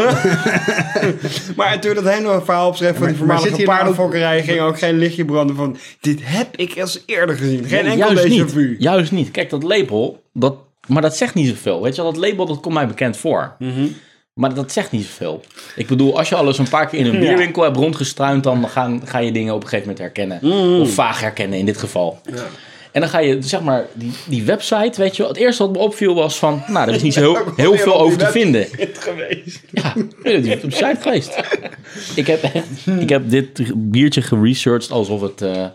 Speaker 4: Maar het duurde het hele verhaal opschrijven van die
Speaker 3: Maar- maar zit hier
Speaker 4: voormalige
Speaker 3: nou ook-
Speaker 4: paardenfokkerij. Ging ook geen lichtje branden van, dit heb ik als eerder gezien. Geen
Speaker 1: Nee,
Speaker 4: enkel
Speaker 1: juist
Speaker 4: deze
Speaker 1: niet.
Speaker 4: vu.
Speaker 1: Juist niet. Kijk, dat label, dat, maar dat zegt niet zoveel. Weet je, wel, dat label dat komt mij bekend voor.
Speaker 4: Mhm.
Speaker 1: Maar dat zegt niet zoveel. Ik bedoel, als je al eens een paar keer in een bierwinkel hebt rondgestruind, dan gaan, ga je dingen op een gegeven moment herkennen.
Speaker 4: Mhm.
Speaker 1: Of vaag herkennen in dit geval. En dan ga je, zeg maar, die, die website, weet je wel. Het eerste wat me opviel was van, nou, er is niet zo heel, heel veel over te vinden. Ja, ik ben natuurlijk op de site geweest. Ik heb, echt- ik heb dit biertje geresearched alsof het, eh,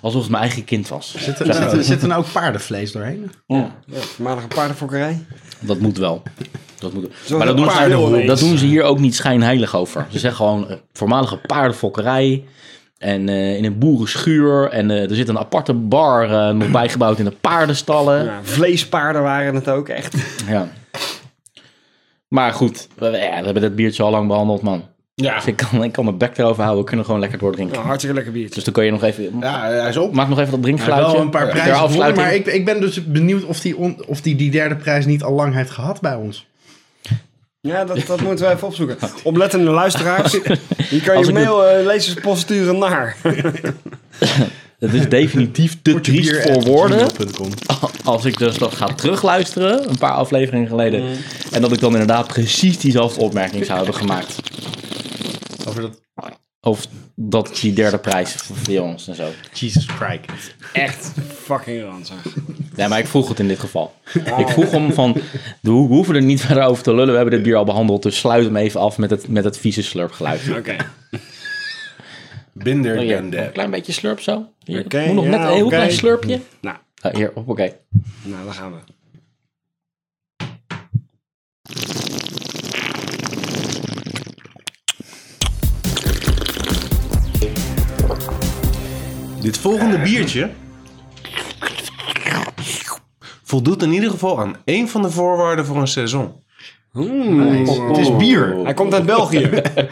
Speaker 1: alsof het mijn eigen kind was.
Speaker 3: Zit er, zit, er, zit er nou ook paardenvlees doorheen?
Speaker 4: Ja, voormalige paardenfokkerij.
Speaker 1: Dat moet wel. Dat moet...
Speaker 4: Zo
Speaker 1: Maar dat
Speaker 4: een
Speaker 1: doen,
Speaker 4: paardenhol
Speaker 1: ze,
Speaker 4: ineens.
Speaker 1: dat doen ze hier ook niet schijnheilig over. Ze zeggen gewoon eh, voormalige paardenfokkerij. En eh, in een boerenschuur. En eh, er zit een aparte bar eh, nog bijgebouwd in de paardenstallen. Ja.
Speaker 4: Ja, vleespaarden waren het ook echt.
Speaker 1: Maar goed, we, ja, we hebben dat biertje al lang behandeld, man.
Speaker 2: Ja.
Speaker 1: Dus ik kan, ik kan mijn bek erover houden. We kunnen gewoon lekker doordrinken.
Speaker 4: Ja, hartstikke lekker biertje.
Speaker 1: Dus dan kun je nog even...
Speaker 2: ja, hij is op.
Speaker 1: Maak nog even dat
Speaker 3: Hij heeft
Speaker 1: drinkgeluidje.
Speaker 3: wel een paar
Speaker 1: Ter
Speaker 3: prijzen gewonnen,
Speaker 1: afsluiting.
Speaker 3: maar ik, ik ben dus benieuwd of die, on- of die die derde prijs niet al lang heeft gehad bij ons.
Speaker 4: Ja, dat, dat moeten we even opzoeken. Oplettende luisteraars. Je kan
Speaker 1: Als
Speaker 4: je
Speaker 1: ik het-
Speaker 4: mail eh lezerspost sturen naar.
Speaker 1: Het is definitief te triest
Speaker 3: Bier
Speaker 1: voor
Speaker 3: at
Speaker 1: woorden.
Speaker 3: gmail.com.
Speaker 1: Als ik dus dat ga terugluisteren, een paar afleveringen geleden. En dat ik dan inderdaad precies diezelfde opmerking zou hebben gemaakt.
Speaker 3: Over dat
Speaker 1: Of dat die derde prijs voor ons en zo.
Speaker 3: Jesus Christ.
Speaker 4: Echt fucking ranzig.
Speaker 1: Nee, maar ik vroeg het in dit geval. Ik vroeg om van, we ho- we hoeven er niet verder over te lullen. We hebben dit bier al behandeld, dus sluit hem even af met het, met het vieze slurpgeluid. Oh,
Speaker 4: Oké.
Speaker 2: Binder
Speaker 1: Hier,
Speaker 2: than
Speaker 1: een
Speaker 2: dead.
Speaker 1: klein beetje slurp zo. Hier,
Speaker 4: Oké,
Speaker 1: moet nog
Speaker 4: ja,
Speaker 1: net een heel
Speaker 4: oké.
Speaker 1: klein slurpje.
Speaker 4: Nou,
Speaker 1: Ah, hier, oké.
Speaker 4: nou, daar gaan we.
Speaker 2: Dit volgende biertje voldoet in ieder geval aan één van de voorwaarden voor een seizoen.
Speaker 3: Mm. Het is bier.
Speaker 4: Hij komt uit België.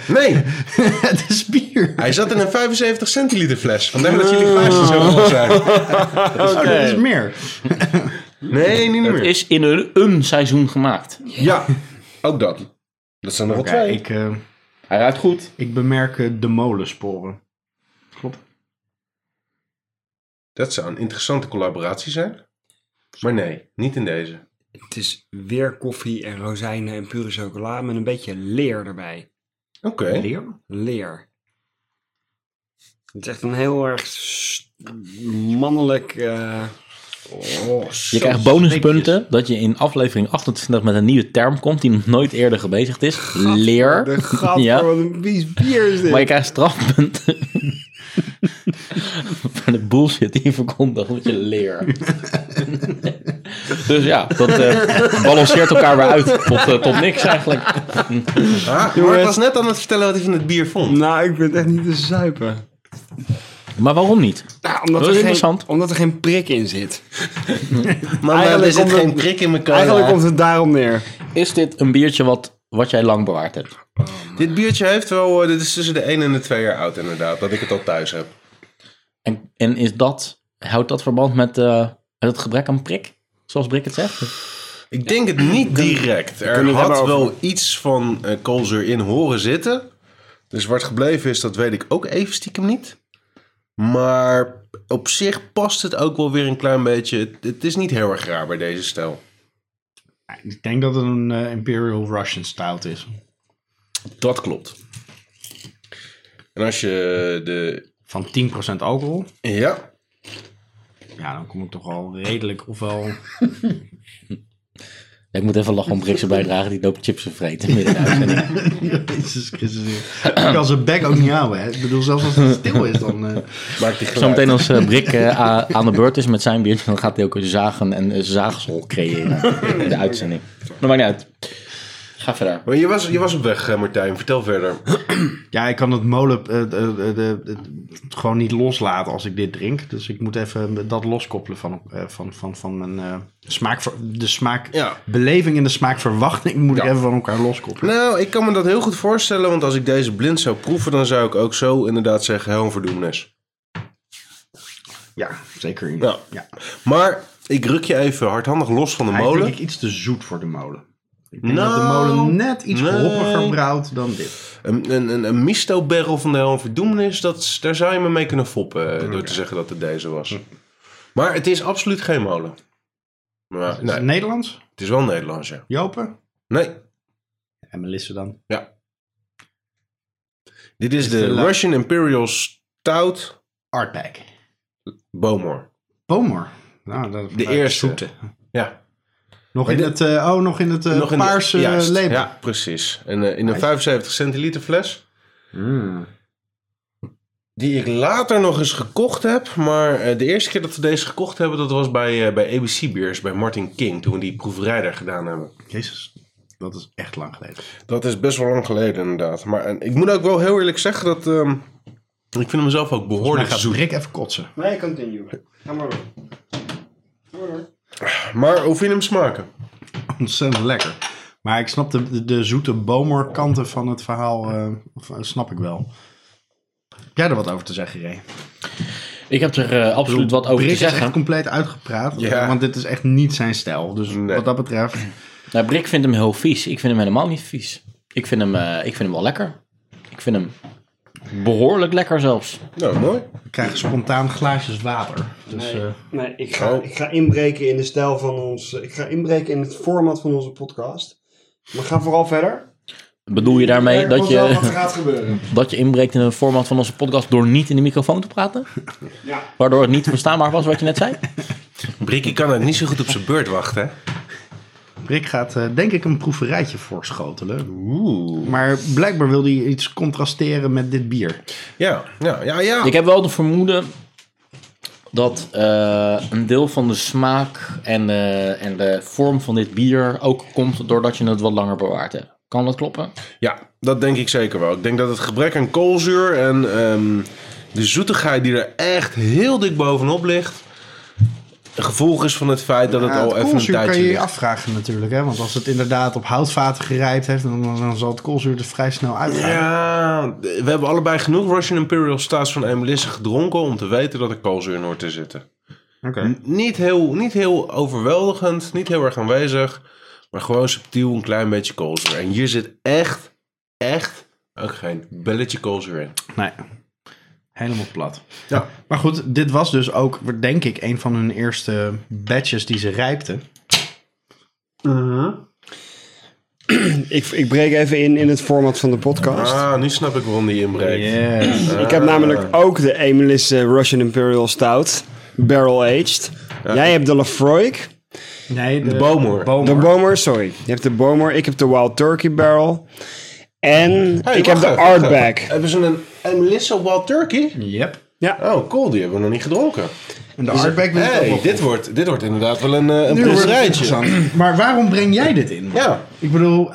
Speaker 2: Nee,
Speaker 3: Het is bier.
Speaker 2: hij zat in een 75 centiliter fles. Vandaar dat jullie glaasjes zo vol zijn.
Speaker 3: Oh, dat is meer.
Speaker 2: Nee, niet
Speaker 1: Het
Speaker 2: meer.
Speaker 1: is in een, een seizoen gemaakt.
Speaker 2: Ja, ook dat. Dat zijn er wel
Speaker 3: Oké,
Speaker 2: twee.
Speaker 3: ik, eh,
Speaker 1: Hij ruikt goed.
Speaker 3: ik bemerk eh, de molensporen. Klopt.
Speaker 2: Dat zou een interessante collaboratie zijn. Maar nee, niet in deze.
Speaker 4: Het is weer koffie en rozijnen en pure chocola met een beetje leer erbij.
Speaker 2: Oké.
Speaker 3: Leer?
Speaker 4: Leer. Het is echt een heel erg s- mannelijk... eh,
Speaker 1: Oh,
Speaker 4: oh,
Speaker 1: Je krijgt bonuspunten dat je in aflevering 28 met een nieuwe term komt die nog nooit eerder gebezigd is. Leer.
Speaker 4: De gat,
Speaker 1: Ja.
Speaker 4: wat een vies bier is dit.
Speaker 1: Maar je krijgt strafpunten. Voor de bullshit die je verkondigt met je leer. dus ja, dat eh, balanceert elkaar weer uit tot, eh, tot niks eigenlijk.
Speaker 2: Ah, maar ik
Speaker 4: Jongens.
Speaker 2: was net aan het vertellen wat ik van het bier vond.
Speaker 4: Nou, ik ben echt niet te zuipen.
Speaker 1: Maar waarom niet?
Speaker 4: Nou,
Speaker 1: Dat
Speaker 4: omdat,
Speaker 1: is
Speaker 4: er geen,
Speaker 1: interessant.
Speaker 4: omdat er geen prik in zit.
Speaker 2: Maar
Speaker 4: Eigenlijk
Speaker 2: er zit
Speaker 4: omdat-
Speaker 2: geen prik in mijn cola.
Speaker 4: Eigenlijk komt het daarom neer.
Speaker 1: Is dit een biertje wat, wat jij lang bewaard hebt?
Speaker 2: Dit biertje heeft wel... eh, dit is tussen de 1 en de 2 jaar oud inderdaad. Dat ik het al thuis heb.
Speaker 1: En, en is dat, houdt dat verband met, eh, met het gebrek aan prik? Zoals Brik het zegt?
Speaker 2: Ik denk het niet direct. Er
Speaker 4: kunnen het
Speaker 2: had
Speaker 4: hebben over-
Speaker 2: wel iets van eh, koolzuur in horen zitten. Dus waar het gebleven is, dat weet ik ook even stiekem niet. Maar op zich past het ook wel weer een klein beetje. Het- Het is niet heel erg raar bij deze stijl.
Speaker 3: Ik denk dat het een eh, Imperial Russian stout is.
Speaker 2: Dat klopt. En als je de...
Speaker 3: Van 10% alcohol.
Speaker 2: Ja,
Speaker 3: Ja, dan kom ik toch al redelijk ofwel...
Speaker 1: Ik moet even lachen om Brikse bijdrage, die loopt chips te vreten midden in de uitzending.
Speaker 3: Jezus Christus. Ik kan zijn bek ook niet houden. Hè. Ik bedoel, zelfs als het stil is, dan... eh,
Speaker 2: maakt die geluid.
Speaker 1: Zometeen als eh, Brik eh, a- aan de beurt is met zijn biertje, dan gaat hij ook een zagen en een zaagsel creëren in de uitzending. Maar maakt niet uit. Ga verder.
Speaker 2: Maar je was, je was op weg, eh, Martijn. Vertel verder.
Speaker 3: Ja, ik kan het molen eh, eh, eh, eh, eh, gewoon niet loslaten als ik dit drink. Dus ik moet even dat loskoppelen van, eh, van, van, van mijn eh, smaak. De
Speaker 2: Ja.
Speaker 3: smaakbeleving en de smaakverwachting moet ik
Speaker 2: Ja.
Speaker 3: even van elkaar loskoppelen.
Speaker 2: Nou, ik kan me dat heel goed voorstellen. Want als ik deze blind zou proeven, dan zou ik ook zo inderdaad zeggen... Heel een verdoemenis.
Speaker 3: Ja, zeker.
Speaker 2: Ja.
Speaker 3: Ja.
Speaker 2: Maar ik ruk je even hardhandig los van de
Speaker 3: Hij is denk
Speaker 2: molen.
Speaker 3: ik iets te zoet voor de molen. Ik denk dat
Speaker 2: Nou,
Speaker 3: de molen net iets
Speaker 2: nee.
Speaker 3: hoppiger brouwt dan dit.
Speaker 2: Een, een, een, een misto-barrel van de Helm Verdoemenis, dat, is- daar zou je me mee kunnen foppen eh, door te zeggen dat het deze
Speaker 3: Hm.
Speaker 2: was. Maar het is absoluut geen molen. Maar,
Speaker 3: Is
Speaker 2: nee,
Speaker 3: het Nederlands?
Speaker 2: het is wel Nederlands, ja.
Speaker 3: Jopen?
Speaker 2: Nee,
Speaker 3: En Melissa dan?
Speaker 2: ja. Dit is,
Speaker 3: de
Speaker 2: de
Speaker 3: la-
Speaker 2: Russian Imperial Stout
Speaker 3: Artback.
Speaker 2: Bomor.
Speaker 3: Bomer. Nou, dat
Speaker 2: De eerste.
Speaker 3: Zoete.
Speaker 2: Ja,
Speaker 3: Nog
Speaker 2: Maar
Speaker 3: in
Speaker 2: dit-
Speaker 3: het, eh, oh, nog in het eh,
Speaker 2: Nog in de-
Speaker 3: paarse eh,
Speaker 2: juist,
Speaker 3: label.
Speaker 2: Ja, Hmm. precies. En eh, in een 75 centiliter fles. Die ik later nog eens gekocht heb. Maar eh, de eerste keer dat we deze gekocht hebben, dat was bij, eh, bij ABC Beers, bij Martin King. Toen we die proeverij daar gedaan hebben.
Speaker 3: Jezus, dat is echt lang geleden.
Speaker 2: Dat is best wel lang geleden inderdaad. Maar en ik moet ook wel heel eerlijk zeggen dat... ehm, ik vind hem zelf ook
Speaker 3: Dan
Speaker 2: behoorlijk
Speaker 3: Nou, gaat
Speaker 2: zoet.
Speaker 3: Rick even kotsen.
Speaker 4: Nee, continue. Ga maar door. Ga maar door.
Speaker 2: Maar hoe vind je hem smaken?
Speaker 3: Ontzettend lekker. Maar ik snap de, de, de zoete bomerkanten van het verhaal, eh, v- snap ik wel. Heb jij er wat over te zeggen, Ray?
Speaker 1: Ik heb er eh, absoluut wat over
Speaker 3: Rick
Speaker 1: te
Speaker 3: is echt
Speaker 1: zeggen.
Speaker 3: compleet uitgepraat, eh,
Speaker 2: Ja.
Speaker 3: want dit is echt niet zijn stijl. Dus
Speaker 2: Nee.
Speaker 3: wat dat betreft,
Speaker 1: Nou, Brik vindt hem heel vies. Ik vind hem helemaal niet vies. Ik vind hem, eh, ik vind hem wel lekker. Ik vind hem behoorlijk lekker zelfs.
Speaker 2: Nou, mooi.
Speaker 3: we krijgen spontaan glaasjes water. Dus,
Speaker 4: Nee,
Speaker 3: eh,
Speaker 4: nee ik, ga,
Speaker 2: Oh.
Speaker 4: ik ga inbreken in de stijl van ons. Ik ga inbreken in het format van onze podcast. Maar ga vooral verder.
Speaker 1: Bedoel je daarmee
Speaker 4: Kijk
Speaker 1: dat
Speaker 4: vanzelf Wat er
Speaker 1: je,
Speaker 4: gaat gebeuren.
Speaker 1: dat je inbreekt in het format van onze podcast door niet in de microfoon te praten?
Speaker 4: Ja.
Speaker 1: Waardoor het niet verstaanbaar was wat je net zei?
Speaker 2: Brikkie kan het niet zo goed op zijn beurt wachten, hè?
Speaker 3: Rick gaat eh, denk ik een proeverijtje voorschotelen.
Speaker 2: Oeh.
Speaker 3: Maar blijkbaar wil hij iets contrasteren met dit bier.
Speaker 2: Ja, ja, ja, ja.
Speaker 1: Ik heb wel het vermoeden dat eh, een deel van de smaak en, eh, en de vorm van dit bier ook komt doordat je het wat langer bewaard hebt. Kan dat kloppen?
Speaker 2: Ja, dat denk ik zeker wel. Ik denk dat het gebrek aan koolzuur en ehm, de zoetigheid die er echt heel dik bovenop ligt... een gevolg is van het feit dat het
Speaker 3: Ja,
Speaker 2: al even een
Speaker 3: koolzuur kan
Speaker 2: tijdje
Speaker 3: je je
Speaker 2: ligt.
Speaker 3: afvragen natuurlijk. Hè? Want als het inderdaad op houtvaten gerijpt heeft, dan, dan zal het koolzuur er vrij snel uitgaan.
Speaker 2: Ja, we hebben allebei genoeg Russian Imperial Stouts van Emelisse gedronken... om te weten dat er koolzuur in hoort te zitten.
Speaker 3: Oké.
Speaker 2: Niet heel, niet heel overweldigend, niet heel erg aanwezig, maar gewoon subtiel een klein beetje koolzuur. En hier zit echt, echt ook geen belletje koolzuur in.
Speaker 3: Nee. Helemaal plat.
Speaker 2: Ja.
Speaker 3: Maar goed, dit was dus ook, denk ik, een van hun eerste batches die ze rijpten.
Speaker 4: Ik, ik breek even in in het format van de podcast.
Speaker 2: Ah, nu snap ik waarom die inbreekt.
Speaker 3: Yes.
Speaker 4: Ik heb namelijk
Speaker 2: Ah.
Speaker 4: ook de Emelis eh, Russian Imperial Stout. Barrel aged. Jij hebt de Lafroy.
Speaker 3: Nee, de,
Speaker 2: Bomer.
Speaker 4: De Bomer, sorry. Je hebt de Bomer. Ik heb de Wild Turkey Barrel. En
Speaker 2: Hey,
Speaker 4: ik heb
Speaker 2: wacht
Speaker 4: de
Speaker 2: even, wacht
Speaker 4: Artback.
Speaker 2: even. Hebben ze een Emelisse Wild Turkey?
Speaker 3: Yep.
Speaker 2: Oh, cool, die hebben we nog niet gedronken.
Speaker 3: En de hardback wil ik ook
Speaker 2: hey,
Speaker 3: wel
Speaker 2: dit wordt, dit wordt inderdaad wel een, eh, een
Speaker 3: Nu wordt het
Speaker 2: proeverijtje.
Speaker 3: interessant. Maar waarom breng jij dit in?
Speaker 2: Ja,
Speaker 3: Ik bedoel,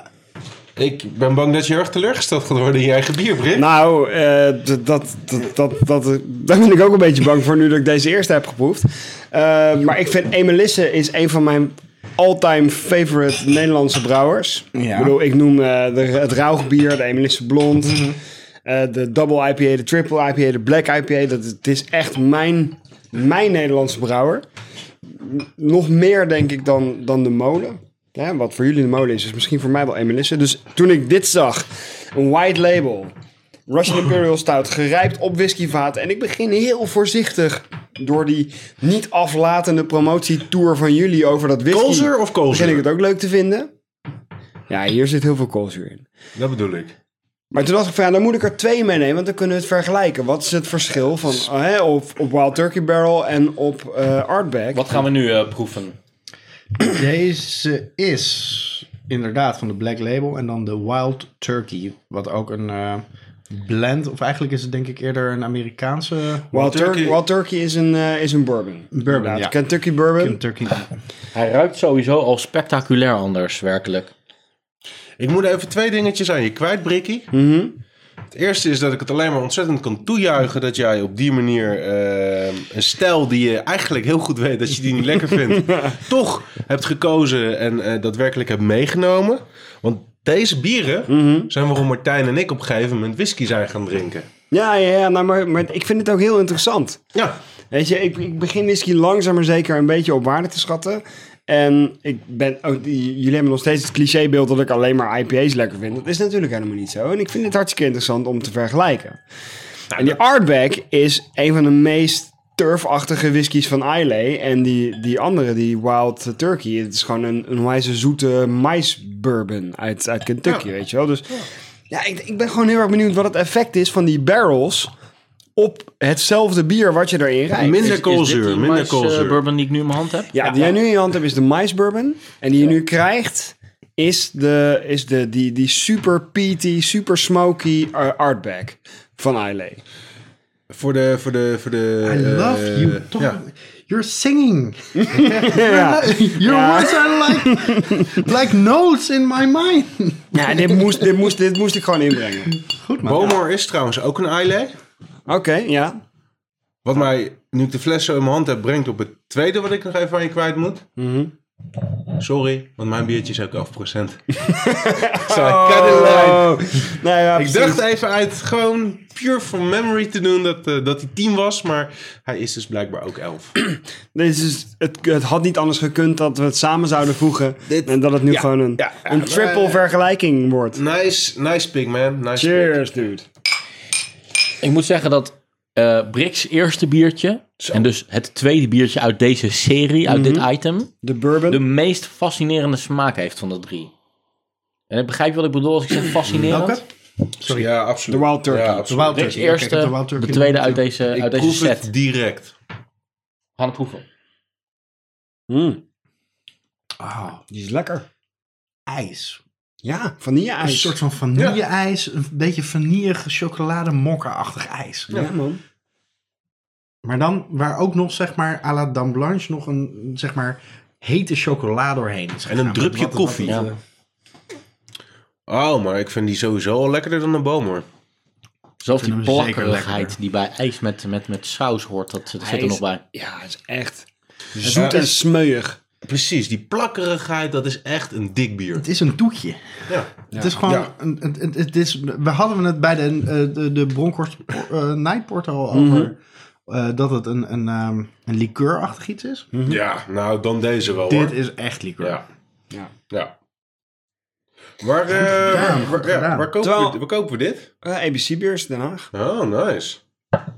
Speaker 2: ik ben bang dat je heel erg teleurgesteld gaat worden in je eigen bier, Brit.
Speaker 4: Nou, eh, d- dat, dat, dat, dat, daar ben ik ook een beetje bang voor nu dat ik deze eerste heb geproefd. Eh, maar ik vind Emelisse is een van mijn all-time favorite Nederlandse brouwers.
Speaker 3: Ja.
Speaker 4: Ik bedoel, ik noem eh, de, het rauwbier, de Emelisse Blond, eh, de Double IPA, de Triple IPA, de Black IPA. Dat, is- het is echt mijn, mijn Nederlandse brouwer. Nog meer, denk ik, dan, dan de molen. Ja, wat voor jullie de molen is, is misschien voor mij wel Emelisse. Dus toen ik dit zag, een white label, Russian Imperial Stout, gerijpt op whiskyvaten. En ik begin heel voorzichtig door die niet aflatende promotietour van jullie over dat whisky.
Speaker 2: Koolzuur of
Speaker 4: Begin ik
Speaker 2: koolzuur?
Speaker 4: het ook leuk te vinden. Ja, hier zit heel veel koolzuur in.
Speaker 2: Dat bedoel ik.
Speaker 4: Maar toen dacht ik van, ja, dan moet ik er twee meenemen, want dan kunnen we het vergelijken. Wat is het verschil van, oh, hè, op, op Wild Turkey Barrel en op eh Artback?
Speaker 1: Wat gaan we nu eh, proeven?
Speaker 3: Deze is inderdaad van de Black Label en dan de Wild Turkey. Wat ook een eh, blend, of eigenlijk is het denk ik eerder een Amerikaanse
Speaker 4: Wild Turkey,
Speaker 2: Turkey-
Speaker 4: Wild Turkey is een, eh, is een bourbon. Inderdaad.
Speaker 3: ja.
Speaker 4: Kentucky bourbon.
Speaker 3: Turkey.
Speaker 1: Hij ruikt sowieso al spectaculair anders, werkelijk.
Speaker 2: Ik moet even twee dingetjes aan je kwijt, Brikkie.
Speaker 1: Mhm.
Speaker 2: Het eerste is dat ik het alleen maar ontzettend kan toejuichen dat jij op die manier ehm, een stijl die je eigenlijk heel goed weet dat je die niet lekker vindt, toch hebt gekozen en eh, daadwerkelijk hebt meegenomen. Want deze bieren
Speaker 1: Mhm.
Speaker 2: zijn waarom Martijn en ik op een gegeven moment whisky zijn gaan drinken.
Speaker 4: Ja, ja, ja nou, maar, maar ik vind het ook heel interessant.
Speaker 2: Ja,
Speaker 4: Weet je, ik, ik begin whisky langzaam maar zeker een beetje op waarde te schatten. En ik ben, oh, die- jullie hebben nog steeds het clichébeeld dat ik alleen maar IPA's lekker vind. Dat is natuurlijk helemaal niet zo. En ik vind het hartstikke interessant om te vergelijken. en die Artback is een van de meest turfachtige whiskies van Islay. En die, die andere, die Wild Turkey, het is gewoon een, een wijze zoete maisbourbon uit, uit Kentucky, weet je wel. Dus ja, ik, ik ben gewoon heel erg benieuwd wat het effect is van die barrels op hetzelfde bier wat je erin rijdt.
Speaker 2: minder
Speaker 1: Is- is
Speaker 2: koolzuur,
Speaker 1: dit die
Speaker 2: minder
Speaker 1: mais, eh,
Speaker 2: koolzuur.
Speaker 1: bourbon die ik nu in mijn hand heb?
Speaker 4: Ja, die jij nu in je hand hebt is de mais bourbon. En die je nu krijgt is, de, is de, die, die super peaty, super smoky eh, artback van Islay.
Speaker 2: Voor de, voor de, voor de...
Speaker 3: I love
Speaker 2: eh,
Speaker 3: you. Toch,
Speaker 2: Ja.
Speaker 3: You're singing.
Speaker 4: Ja.
Speaker 3: Your words are like, like notes in my mind.
Speaker 4: Ja, dit moest, dit, moest, dit moest ik gewoon inbrengen.
Speaker 3: Goed man.
Speaker 2: Bomor is trouwens ook een Islay.
Speaker 4: Oké, ja.
Speaker 2: Wat mij, nu ik de fles zo in mijn hand heb, brengt op het tweede wat ik nog even aan je kwijt moet. Sorry, want mijn biertje is ook 11%. Sorry,
Speaker 4: Oh, nou ja,
Speaker 2: Ik
Speaker 4: precies.
Speaker 2: dacht even uit gewoon pure from memory te doen dat, eh, dat hij 10 was, maar hij is dus blijkbaar ook 11.
Speaker 4: Dit is, het, het had niet anders gekund dat we het samen zouden voegen. en dat het nu gewoon een,
Speaker 2: ja, ja.
Speaker 4: een triple vergelijking wordt.
Speaker 2: Nice, nice pick man. Nice pick.
Speaker 4: Cheers, dude.
Speaker 1: Ik moet zeggen dat eh Bricks eerste biertje, en dus het tweede biertje uit deze serie, uit dit item,
Speaker 4: De bourbon.
Speaker 1: de meest fascinerende smaak heeft van de drie. En ik begrijp je wat ik bedoel als ik zeg fascinerend.
Speaker 3: Welke?
Speaker 2: Ja, absoluut.
Speaker 4: De Wild Turkey.
Speaker 2: Ja,
Speaker 3: De
Speaker 2: absoluut.
Speaker 3: Wild
Speaker 1: Bricks
Speaker 3: Turkey. Ja, kijk,
Speaker 1: eerste,
Speaker 3: ik heb de Wild
Speaker 1: de
Speaker 3: Turkey
Speaker 1: tweede
Speaker 3: nog
Speaker 1: uit
Speaker 3: natuurlijk.
Speaker 1: deze,
Speaker 2: Ik
Speaker 1: uit deze
Speaker 2: proef
Speaker 1: set.
Speaker 2: het direct.
Speaker 1: Gaan het proeven.
Speaker 4: Mm,
Speaker 3: Wauw,
Speaker 4: die is lekker.
Speaker 3: ijs.
Speaker 4: Ja, vanille-ijs.
Speaker 3: Een soort van vanille-ijs. Een beetje vanille chocolade mokka-achtig ijs.
Speaker 4: Ja, man.
Speaker 3: Maar dan waar ook nog, zeg maar, à la Dame Blanche nog een, zeg maar, hete chocola doorheen is gegaan.
Speaker 2: een drupje
Speaker 3: Wat- wat- wat-
Speaker 2: koffie.
Speaker 3: wat-
Speaker 1: Ja.
Speaker 2: Oh, maar ik vind die sowieso al lekkerder dan een boom hoor.
Speaker 1: Zelfs
Speaker 3: Ik
Speaker 1: die
Speaker 3: vind hem zeker
Speaker 1: plakkerigheid
Speaker 3: lekkerder.
Speaker 1: die bij ijs met, met, met saus hoort, dat, dat zit
Speaker 4: Hij
Speaker 1: er
Speaker 4: is-
Speaker 1: nog bij.
Speaker 4: Ja, het is echt
Speaker 2: Ja,
Speaker 4: zoet en smeuig.
Speaker 2: Precies, die plakkerigheid, dat is echt een dik bier.
Speaker 3: Het is een toetje.
Speaker 2: Ja.
Speaker 3: Het is gewoon,
Speaker 2: Ja.
Speaker 3: een, het, het- het is, we hadden het bij de, eh, de, de Bronkhorst eh, Nightport al over.
Speaker 2: Mhm.
Speaker 3: eh, dat het een, een, ehm, een liqueurachtig iets is.
Speaker 2: Ja, nou dan deze wel hoor.
Speaker 3: Dit is echt liqueur.
Speaker 2: Ja.
Speaker 4: Ja.
Speaker 2: ja. Waar, eh,
Speaker 3: gedaan,
Speaker 2: waar-
Speaker 3: goed
Speaker 2: waar, ja,
Speaker 3: gedaan.
Speaker 2: waar, kopen
Speaker 4: Terwijl-
Speaker 2: we, waar kopen we dit?
Speaker 4: Eh, ABC Beers Den Haag.
Speaker 2: Oh, nice.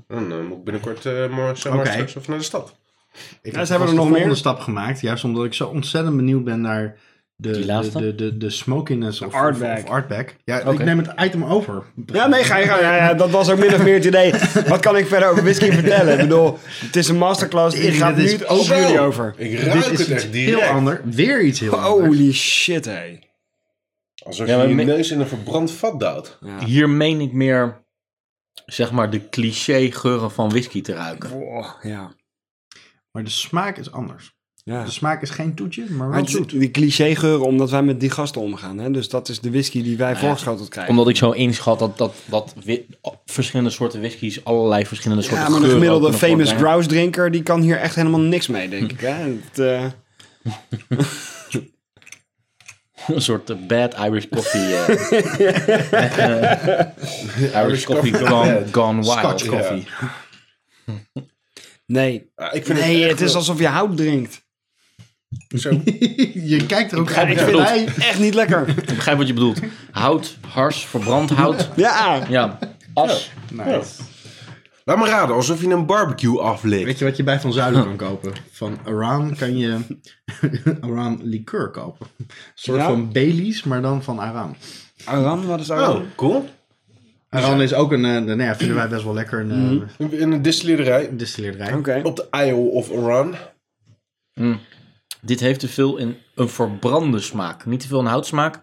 Speaker 2: Dan eh, moet ik binnenkort eh maar zo maar
Speaker 3: Oké.
Speaker 2: straks even naar de stad.
Speaker 3: Ik
Speaker 4: Ja,
Speaker 3: heb
Speaker 4: ze hebben
Speaker 3: vast
Speaker 4: er nog
Speaker 3: de volgende
Speaker 4: meer.
Speaker 3: stap gemaakt. Juist omdat ik zo ontzettend benieuwd ben naar de,
Speaker 1: Die
Speaker 3: de,
Speaker 1: laatste?
Speaker 3: de, de, de smokiness of
Speaker 4: artback.
Speaker 3: Of, of artback. Ja, ik
Speaker 1: Oké.
Speaker 3: neem het item over.
Speaker 4: Ja, nee, ga je gang. Ja, ja, dat was ook min of meer het idee. Wat kan ik verder over whisky vertellen? Ik bedoel, het is een masterclass. Ik
Speaker 3: Erik,
Speaker 4: ga
Speaker 3: dit
Speaker 4: nu
Speaker 3: is
Speaker 4: het ook
Speaker 2: Zo,
Speaker 4: jullie over.
Speaker 2: Ik
Speaker 3: Dit
Speaker 2: ruik
Speaker 3: is
Speaker 2: het
Speaker 3: iets
Speaker 2: echt direct.
Speaker 3: heel ander. Weer iets
Speaker 4: Oh.
Speaker 3: heel anders.
Speaker 4: Holy shit, hé.
Speaker 2: Alsof
Speaker 1: Ja,
Speaker 2: je
Speaker 1: maar
Speaker 2: je
Speaker 1: me-
Speaker 2: neus in een verbrand vat duwt.
Speaker 1: Hier meen ik meer, zeg maar, de cliché geuren van whisky te ruiken.
Speaker 4: Wow, ja.
Speaker 3: Maar de smaak is anders.
Speaker 4: ja.
Speaker 3: De smaak is geen toetje, maar wel
Speaker 4: Maar het is
Speaker 3: zoet.
Speaker 4: die cliché-geuren, omdat wij met die gasten omgaan. Hè? Dus dat is de whisky die wij voorgeschoteld krijgen.
Speaker 1: Omdat ik zo inschat dat, dat, dat wi- verschillende soorten whiskies allerlei verschillende soorten
Speaker 4: ja, maar de
Speaker 1: geuren ook
Speaker 4: gemiddelde
Speaker 1: kunnen
Speaker 4: famous
Speaker 1: voortbrengen.
Speaker 4: grouse drinker, die kan hier echt helemaal niks mee, denk ik. Hè? Het, eh,
Speaker 1: Een soort eh, bad Irish coffee. eh. Eh, Irish coffee gone, gone wild.
Speaker 3: Scotch
Speaker 1: coffee.
Speaker 4: nee,
Speaker 2: Ah, ik vind
Speaker 4: nee
Speaker 2: het,
Speaker 4: het,
Speaker 2: echt
Speaker 4: is
Speaker 2: wel-
Speaker 4: alsof je hout drinkt.
Speaker 2: Zo.
Speaker 3: je kijkt er ook
Speaker 1: begrijp
Speaker 3: aan.
Speaker 1: wat je bedoelt.
Speaker 3: Wij-
Speaker 4: Echt niet lekker.
Speaker 1: Ik begrijp wat je bedoelt. Hout, hars, verbrand hout.
Speaker 4: Ja,
Speaker 1: Ja, as.
Speaker 3: Nice.
Speaker 2: Laat me raden, alsof je een barbecue aflikt.
Speaker 3: Weet je wat je bij Van Zuilen kan kopen? Van Aran kan je Aran liqueur kopen. Een soort
Speaker 4: Ja?
Speaker 3: van Baileys, maar dan van Aran.
Speaker 4: Aran, wat is Aran?
Speaker 2: Oh, cool.
Speaker 3: Aran is ook een, eh, nou ja, vinden wij best wel lekker, een eh,
Speaker 2: In een distilleerderij
Speaker 3: distilleerderij.
Speaker 4: Oké.
Speaker 2: op de Isle of Oran.
Speaker 1: Dit heeft te veel in een verbrande smaak. Niet te veel een houtsmaak,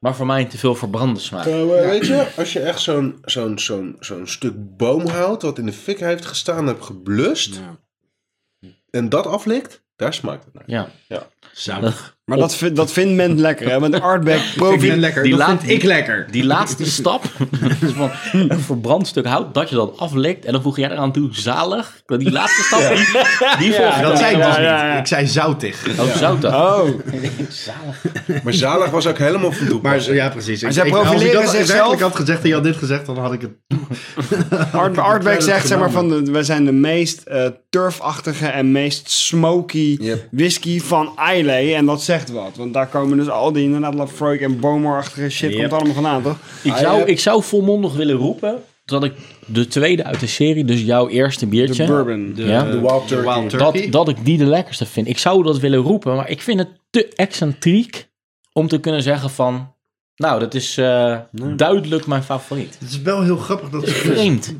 Speaker 1: maar voor mij te veel verbrande smaak.
Speaker 2: Nou, eh, Weet je, als je echt zo'n zo'n zo'n zo'n stuk boomhout wat in de fik heeft gestaan hebt geblust en dat aflikt, daar smaakt het naar.
Speaker 1: Ja.
Speaker 3: Zoutig.
Speaker 4: Maar dat, vind- dat vindt men lekker, hè? Want Artback
Speaker 3: Ik vind
Speaker 4: profi...
Speaker 3: het lekker,
Speaker 1: die
Speaker 3: dat
Speaker 1: laat-
Speaker 3: vind ik lekker.
Speaker 1: Die laatste stap, dus van een verbrand stuk hout, dat je dat aflekt. En dan voeg jij eraan toe, zalig. Die laatste stap, die volgt
Speaker 3: Dat zei ik
Speaker 4: Ja,
Speaker 3: dus
Speaker 4: ja, ja.
Speaker 3: niet. Ik zei zoutig.
Speaker 1: Oh, zoutig.
Speaker 4: Oh,
Speaker 2: Maar zalig was ook helemaal van
Speaker 3: Maar
Speaker 2: toepassing.
Speaker 3: ja, precies.
Speaker 4: zij
Speaker 3: als
Speaker 4: profileren
Speaker 3: ik dat
Speaker 4: zichzelf.
Speaker 3: werkelijk had gezegd en je had dit gezegd, dan had ik het...
Speaker 4: Art, Artback zegt zeg maar van, de, wij zijn de meest eh, turfachtige en meest smoky
Speaker 2: Yep.
Speaker 4: whisky van Islay. En dat zegt wat, want daar komen dus al die inderdaad Lafroik en Bomar-achtige shit komt allemaal vandaan, toch?
Speaker 1: Ik zou, ik zou volmondig willen roepen dat ik de tweede uit de serie, dus jouw eerste biertje,
Speaker 4: Bourbon.
Speaker 1: Ja.
Speaker 3: eh,
Speaker 1: De
Speaker 2: Wild Turkey.
Speaker 3: Wild
Speaker 1: dat,
Speaker 3: Turkey.
Speaker 1: dat ik die de lekkerste vind. Ik zou dat willen roepen, maar ik vind het te excentriek om te kunnen zeggen van... Nou, dat is eh, duidelijk mijn favoriet.
Speaker 3: Het is wel heel grappig dat ze dus
Speaker 1: Vreemd.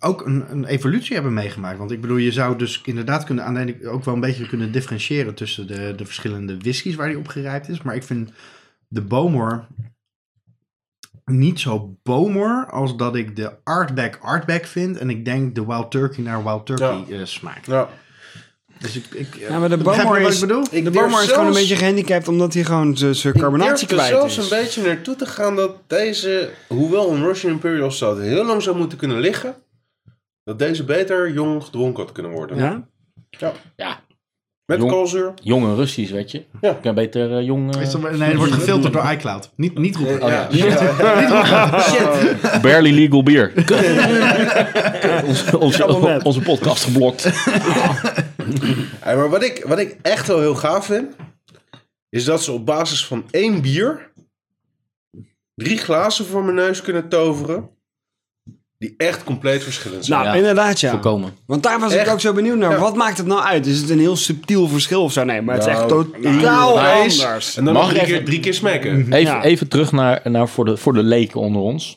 Speaker 3: ook een, een evolutie hebben meegemaakt. Want ik bedoel, je zou dus inderdaad kunnen, aan de ene- ook wel een beetje kunnen differentiëren tussen de, de verschillende whiskies waar die op gerijpt is. Maar ik vind de Bomor niet zo bomer als dat ik de Artback Artback vind. En ik denk de Wild Turkey naar Wild Turkey eh, smaakt.
Speaker 2: Ja.
Speaker 3: Dus ik, ik, eh,
Speaker 4: Ja, maar de
Speaker 3: begrijp je
Speaker 4: bomer
Speaker 3: wat
Speaker 4: is,
Speaker 3: ik bedoel?
Speaker 2: Ik
Speaker 4: de
Speaker 2: durf
Speaker 4: bomer is gewoon een
Speaker 2: zelfs-
Speaker 4: beetje gehandicapt omdat hij gewoon zijn- zijn carbonatie
Speaker 2: Ik durf er
Speaker 4: kwijt
Speaker 2: zelfs
Speaker 4: is.
Speaker 2: een beetje naartoe te gaan dat deze, hoewel een Russian Imperial Stout heel lang zou moeten kunnen liggen, dat deze beter jong gedronken had kunnen worden.
Speaker 4: Ja?
Speaker 2: Ja.
Speaker 1: Ja,
Speaker 2: Met
Speaker 1: Jong.
Speaker 2: koolzuur.
Speaker 1: jonge Russisch, weet je.
Speaker 2: Ja.
Speaker 1: Ik kan beter eh, jong... eh,
Speaker 3: Is dat- nee, het wordt gefilterd door iCloud. Niet, niet roepen.
Speaker 1: oh, ja.
Speaker 2: Shit.
Speaker 1: Barely legal bier. onze, onze,
Speaker 4: Kabinet.
Speaker 1: onze podcast geblokt.
Speaker 2: Hey, maar wat ik, wat ik echt wel heel gaaf vind, is dat ze op basis van één bier drie glazen voor mijn neus kunnen toveren, die echt compleet verschillend zijn.
Speaker 4: Nou,
Speaker 1: Ja.
Speaker 4: inderdaad ja.
Speaker 1: Voorkomen.
Speaker 4: Want daar was
Speaker 2: Echt?
Speaker 4: ik ook zo benieuwd naar.
Speaker 2: Ja.
Speaker 4: Wat maakt het nou uit? Is het een heel subtiel verschil of zo? Nee, maar het is echt
Speaker 2: Nou,
Speaker 4: totaal
Speaker 2: heel nice.
Speaker 4: anders.
Speaker 2: en dan
Speaker 1: Mag
Speaker 2: nog drie
Speaker 1: ik
Speaker 2: keer,
Speaker 1: even-
Speaker 2: drie keer smacken.
Speaker 1: Even,
Speaker 4: Ja.
Speaker 1: even terug naar, naar voor, de, voor de leken onder ons.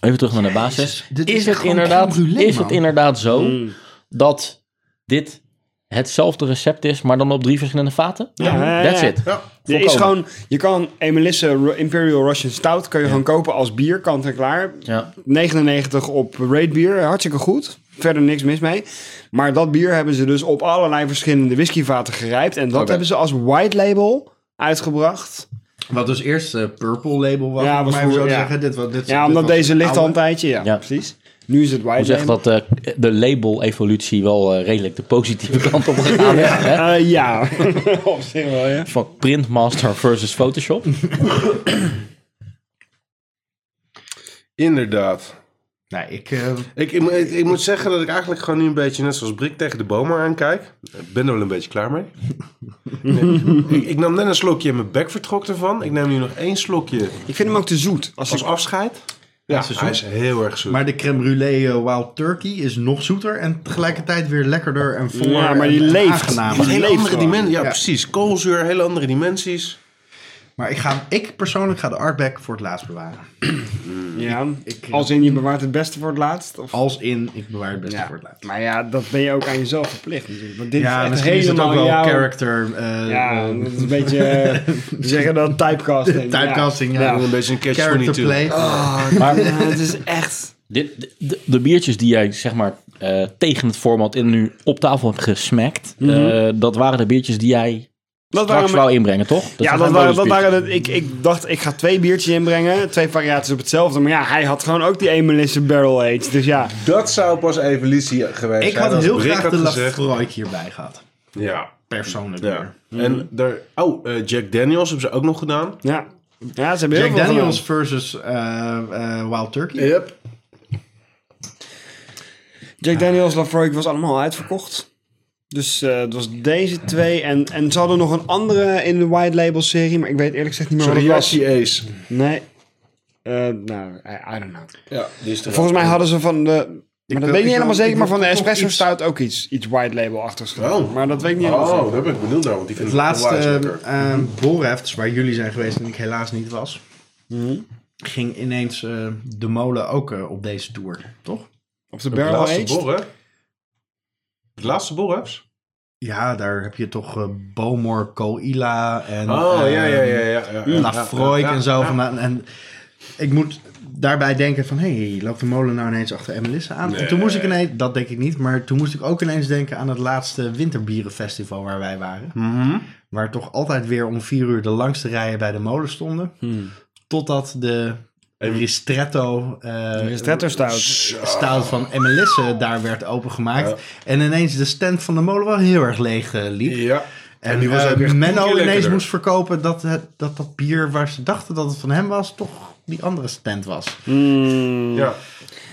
Speaker 1: Even terug naar de basis.
Speaker 3: dit
Speaker 1: Is,
Speaker 3: is
Speaker 1: het
Speaker 3: gewoon
Speaker 1: inderdaad,
Speaker 3: crème brûlée,
Speaker 1: is het
Speaker 3: man.
Speaker 1: inderdaad zo
Speaker 4: Mm.
Speaker 1: dat dit hetzelfde recept is, maar dan op drie verschillende vaten?
Speaker 4: Ja,
Speaker 1: That's
Speaker 4: ja, ja.
Speaker 1: it.
Speaker 2: Ja.
Speaker 4: Er is gewoon, je kan Emelisse Ru- Imperial Russian Stout kan je gewoon kopen als bier, kant en klaar.
Speaker 1: Ja.
Speaker 4: 99 op Raid bier, hartstikke goed. Verder niks mis mee. Maar dat bier hebben ze dus op allerlei verschillende whiskyvaten gerijpt. En dat
Speaker 1: Oké.
Speaker 4: hebben ze als white label uitgebracht.
Speaker 3: Wat dus eerst eh, Purple label was.
Speaker 4: Ja,
Speaker 3: om
Speaker 4: was
Speaker 3: maar even zo
Speaker 4: voor-
Speaker 3: te
Speaker 4: ja.
Speaker 3: zeggen. Dit, wa- dit,
Speaker 4: Ja,
Speaker 3: dit
Speaker 4: omdat
Speaker 3: was
Speaker 4: deze
Speaker 3: een
Speaker 4: ligt al een
Speaker 3: oude-
Speaker 4: tijdje. Ja,
Speaker 1: Ja.
Speaker 4: precies. Nu is het
Speaker 1: Hoe
Speaker 4: white
Speaker 1: zegt
Speaker 4: label.
Speaker 1: dat eh, de label-evolutie wel eh, redelijk de positieve kant op gegaan is? hè?
Speaker 4: Eh, ja, op zich wel, ja.
Speaker 1: Van Printmaster versus Photoshop.
Speaker 2: Inderdaad.
Speaker 3: Nee, ik... eh,
Speaker 2: Ik, ik, moet- ik- ik moet zeggen dat ik eigenlijk gewoon nu een beetje net zoals Brik tegen de bomen aankijk. Ik ben er wel een beetje klaar mee. Nee. ik, ik nam net een slokje en mijn bek vertrok ervan. Ik neem nu nog één slokje
Speaker 4: Ik vind hem ook te zoet. Als
Speaker 2: als
Speaker 4: ik,
Speaker 2: afscheid. Ja,
Speaker 3: is
Speaker 2: hij is heel erg zoet.
Speaker 3: maar de crème brûlée eh, Wild Turkey is nog zoeter en tegelijkertijd weer lekkerder en voller.
Speaker 4: Ja, maar die
Speaker 3: en- en
Speaker 4: leeft.
Speaker 3: aangenamer.
Speaker 2: Een hele
Speaker 4: leeft
Speaker 2: andere
Speaker 4: gewoon.
Speaker 2: dimensie. Ja,
Speaker 3: Ja.
Speaker 2: precies. Koolzuur, hele andere dimensies.
Speaker 3: Maar ik, ga, ik persoonlijk ga de Artback voor het laatst bewaren.
Speaker 4: ja,
Speaker 3: ik-
Speaker 4: als in je bewaart het beste voor het laatst? Of?
Speaker 3: Als in, ik bewaar het beste voor het laatst.
Speaker 4: Maar ja, dat ben je ook aan jezelf verplicht natuurlijk. Want dit
Speaker 3: Ja,
Speaker 4: is echt
Speaker 3: misschien is het ook
Speaker 4: helemaal
Speaker 3: wel
Speaker 4: jouw-
Speaker 3: character. eh,
Speaker 4: Ja,
Speaker 3: eh,
Speaker 4: dat is een beetje, eh, we zeggen dan typecasting.
Speaker 3: Typecasting, ja.
Speaker 2: Een beetje een catch
Speaker 3: character
Speaker 2: 22.
Speaker 3: play.
Speaker 4: Oh, Maar het is echt...
Speaker 1: Dit, de- de, de biertjes die jij zeg maar eh, tegen het format in nu op tafel hebt gesmakt,
Speaker 4: Mhm.
Speaker 1: eh, dat waren de biertjes die jij
Speaker 4: Dat
Speaker 1: straks
Speaker 4: waren
Speaker 1: wou inbrengen, toch?
Speaker 4: ja,
Speaker 1: zijn
Speaker 4: dat
Speaker 1: geen
Speaker 4: waren, dat
Speaker 1: bonusbiertjes.
Speaker 4: waren de- ik, ik dacht, ik ga twee biertjes inbrengen. Twee variaties op hetzelfde. Maar ja, hij had gewoon ook die Emelisse Barrel Age. Dus ja,
Speaker 2: Dat zou pas evolutie geweest
Speaker 3: Ik
Speaker 2: zijn.
Speaker 3: had
Speaker 2: als
Speaker 3: heel
Speaker 2: Brik
Speaker 3: graag
Speaker 2: had
Speaker 3: de
Speaker 2: gezegd.
Speaker 3: Lafroik hierbij gehad.
Speaker 2: Ja.
Speaker 3: Persoonlijk.
Speaker 2: ja.
Speaker 3: Hmm.
Speaker 2: En daar, oh, eh, Jack Daniels hebben ze ook nog gedaan.
Speaker 4: ja. ja ze hebben heel
Speaker 3: Jack
Speaker 4: veel
Speaker 3: Daniels
Speaker 4: gedaan.
Speaker 3: versus eh, eh, Wild Turkey.
Speaker 2: Yep.
Speaker 4: Jack Daniels Lafroig was allemaal uitverkocht. Dus eh, het was deze twee. En, en ze hadden nog een andere in de White Label serie. Maar ik weet eerlijk gezegd niet meer wat het was.
Speaker 2: Sorry, Ace.
Speaker 4: Nee. Eh, nou, I, I don't know.
Speaker 2: Ja, die is er
Speaker 4: Volgens mij hadden ze van de. Maar
Speaker 3: wil-
Speaker 4: dat weet
Speaker 3: ik
Speaker 4: ik niet helemaal
Speaker 3: wil-
Speaker 4: zeker,
Speaker 3: ik
Speaker 4: maar
Speaker 3: wil
Speaker 4: van de
Speaker 3: toch
Speaker 4: espresso
Speaker 3: iets-
Speaker 4: stout ook iets, iets white label achter
Speaker 2: Oh.
Speaker 4: Maar dat weet ik niet helemaal
Speaker 2: Oh,
Speaker 4: zeker.
Speaker 2: daar ben ik benieuwd naar, want die vind
Speaker 3: Het
Speaker 2: ik
Speaker 3: laatste
Speaker 2: onwijs lekker.
Speaker 3: eh, eh, Borefts, waar jullie zijn geweest en ik helaas niet was,
Speaker 2: Mhm.
Speaker 3: ging ineens eh, de molen ook eh, op deze tour, toch?
Speaker 4: Of de
Speaker 2: Het
Speaker 4: barrel
Speaker 2: laatste
Speaker 4: aged.
Speaker 2: borren. Het laatste borren?
Speaker 3: Ja, daar heb je toch eh Bomor, Coila en
Speaker 2: Oh,
Speaker 3: eh,
Speaker 2: ja, ja, ja. ja, ja, ja
Speaker 3: Lafroik
Speaker 2: ja, ja,
Speaker 3: en zo.
Speaker 2: ja.
Speaker 3: vandaan. En ik moet daarbij denken van, hé, hey, loopt de molen nou ineens achter Emelisse aan? En toen moest ik ineens, dat denk ik niet, maar toen moest ik ook ineens denken aan het laatste winterbierenfestival waar wij waren.
Speaker 2: Mhm.
Speaker 3: Waar toch altijd weer om vier uur de langste rijen bij de molen stonden.
Speaker 2: Hmm.
Speaker 3: Totdat de ristretto, eh,
Speaker 4: Ristretto stout.
Speaker 3: stout van Emelisse daar werd opengemaakt. En ineens de stand van de molen wel heel erg leeg eh, liep.
Speaker 2: Ja.
Speaker 3: En,
Speaker 2: En die was
Speaker 3: eh,
Speaker 2: ook echt tien
Speaker 3: Menno
Speaker 2: keer
Speaker 3: ineens
Speaker 2: lekkerder.
Speaker 3: moest verkopen dat, het, dat dat bier waar ze dachten dat het van hem was, toch die andere stand was.
Speaker 2: ja.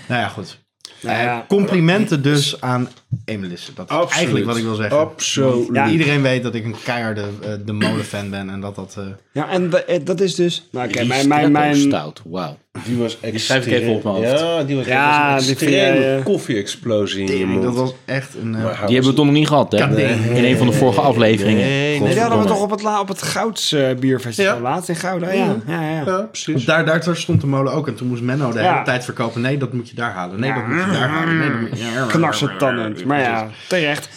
Speaker 3: Nou ja, goed.
Speaker 4: Nou ja.
Speaker 3: Eh, complimenten dus aan Emelisse. Dat is
Speaker 2: Absoluut.
Speaker 3: eigenlijk wat ik wil zeggen.
Speaker 2: Absoluut.
Speaker 3: Ja, iedereen weet dat ik een keiharde eh, de molenfan ben en dat dat... eh,
Speaker 4: Ja, en we- eh, dat is dus. Nou, oké, mijn, mijn,
Speaker 1: Ristretto
Speaker 4: mijn,
Speaker 1: stout, wauw.
Speaker 2: Die was extreem.
Speaker 1: schrijf ik even op mijn hoofd.
Speaker 2: Ja, die was
Speaker 4: Ja,
Speaker 2: ja, een
Speaker 4: die
Speaker 2: extreme
Speaker 4: vind jij, eh,
Speaker 2: koffie-explosie in je
Speaker 3: tering,
Speaker 2: mond.
Speaker 3: dat was echt een...
Speaker 2: Maar
Speaker 3: eh,
Speaker 2: hij
Speaker 1: Die hebben we
Speaker 2: was-
Speaker 1: toch nog niet gehad, hè?
Speaker 3: Kading.
Speaker 1: In een van de vorige afleveringen.
Speaker 2: nee,
Speaker 4: Nee, die hadden we
Speaker 1: Godverdomme.
Speaker 4: toch op het, la- op het Gouds eh, bierfestival
Speaker 2: Ja.
Speaker 4: laatst in Gouda. Ja, ja, ja.
Speaker 2: Ja, precies.
Speaker 3: daar, daar daar stond de molen ook en toen moest Menno de
Speaker 4: Ja.
Speaker 3: hele tijd verkopen. Nee, dat moet je daar halen. Nee, dat moet je daar halen. Nee, dat moet je...
Speaker 4: Knarsen tandend. Maar ja, terecht.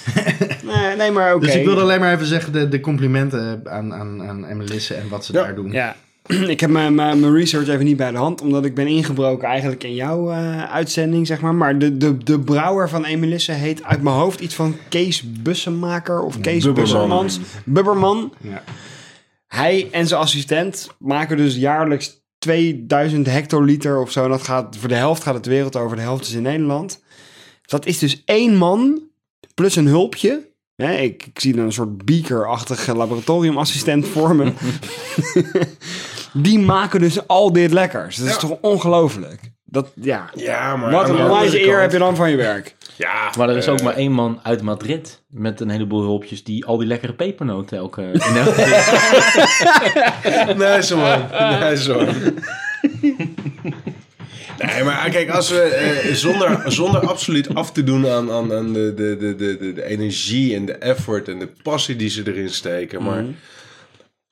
Speaker 4: nee, nee, maar oké.
Speaker 3: Dus ik wilde alleen maar even zeggen de, de complimenten aan, aan, aan Emelisse en wat ze
Speaker 2: Ja.
Speaker 3: daar doen.
Speaker 4: Ja. ik heb mijn, mijn, mijn research even niet bij de hand, omdat ik ben ingebroken eigenlijk in jouw eh, uitzending, zeg maar. Maar de, de, de brouwer van Emelisse heet uit mijn hoofd iets van Kees Bussemaker of Kees
Speaker 2: Bubberman.
Speaker 4: Bussemans. Bubberman.
Speaker 3: Ja.
Speaker 4: Hij en zijn assistent maken dus jaarlijks 2000 hectoliter of zo. En dat gaat, voor de helft gaat het de wereld over, de helft is in Nederland. Dat is dus één man plus een hulpje. Hè, ik, ik zie dan een soort beakerachtige laboratoriumassistent voor me. Die maken dus al dit lekkers. Dat is toch ongelooflijk? Dat, ja.
Speaker 2: Ja, maar...
Speaker 4: Wat
Speaker 2: aan de
Speaker 4: een
Speaker 2: andere
Speaker 4: wijze eer
Speaker 2: kant-
Speaker 4: heb je dan van je werk.
Speaker 2: Ja,
Speaker 1: Maar er is ook maar één man uit Madrid met een heleboel hulpjes die al die lekkere pepernoten elke... in elke-
Speaker 2: Nice man. Nice man. Nee, maar kijk, als we eh, zonder, zonder absoluut af te doen aan, aan, aan de, de, de, de, de- de energie en de effort en de passie die ze erin steken. Maar
Speaker 1: Mhm.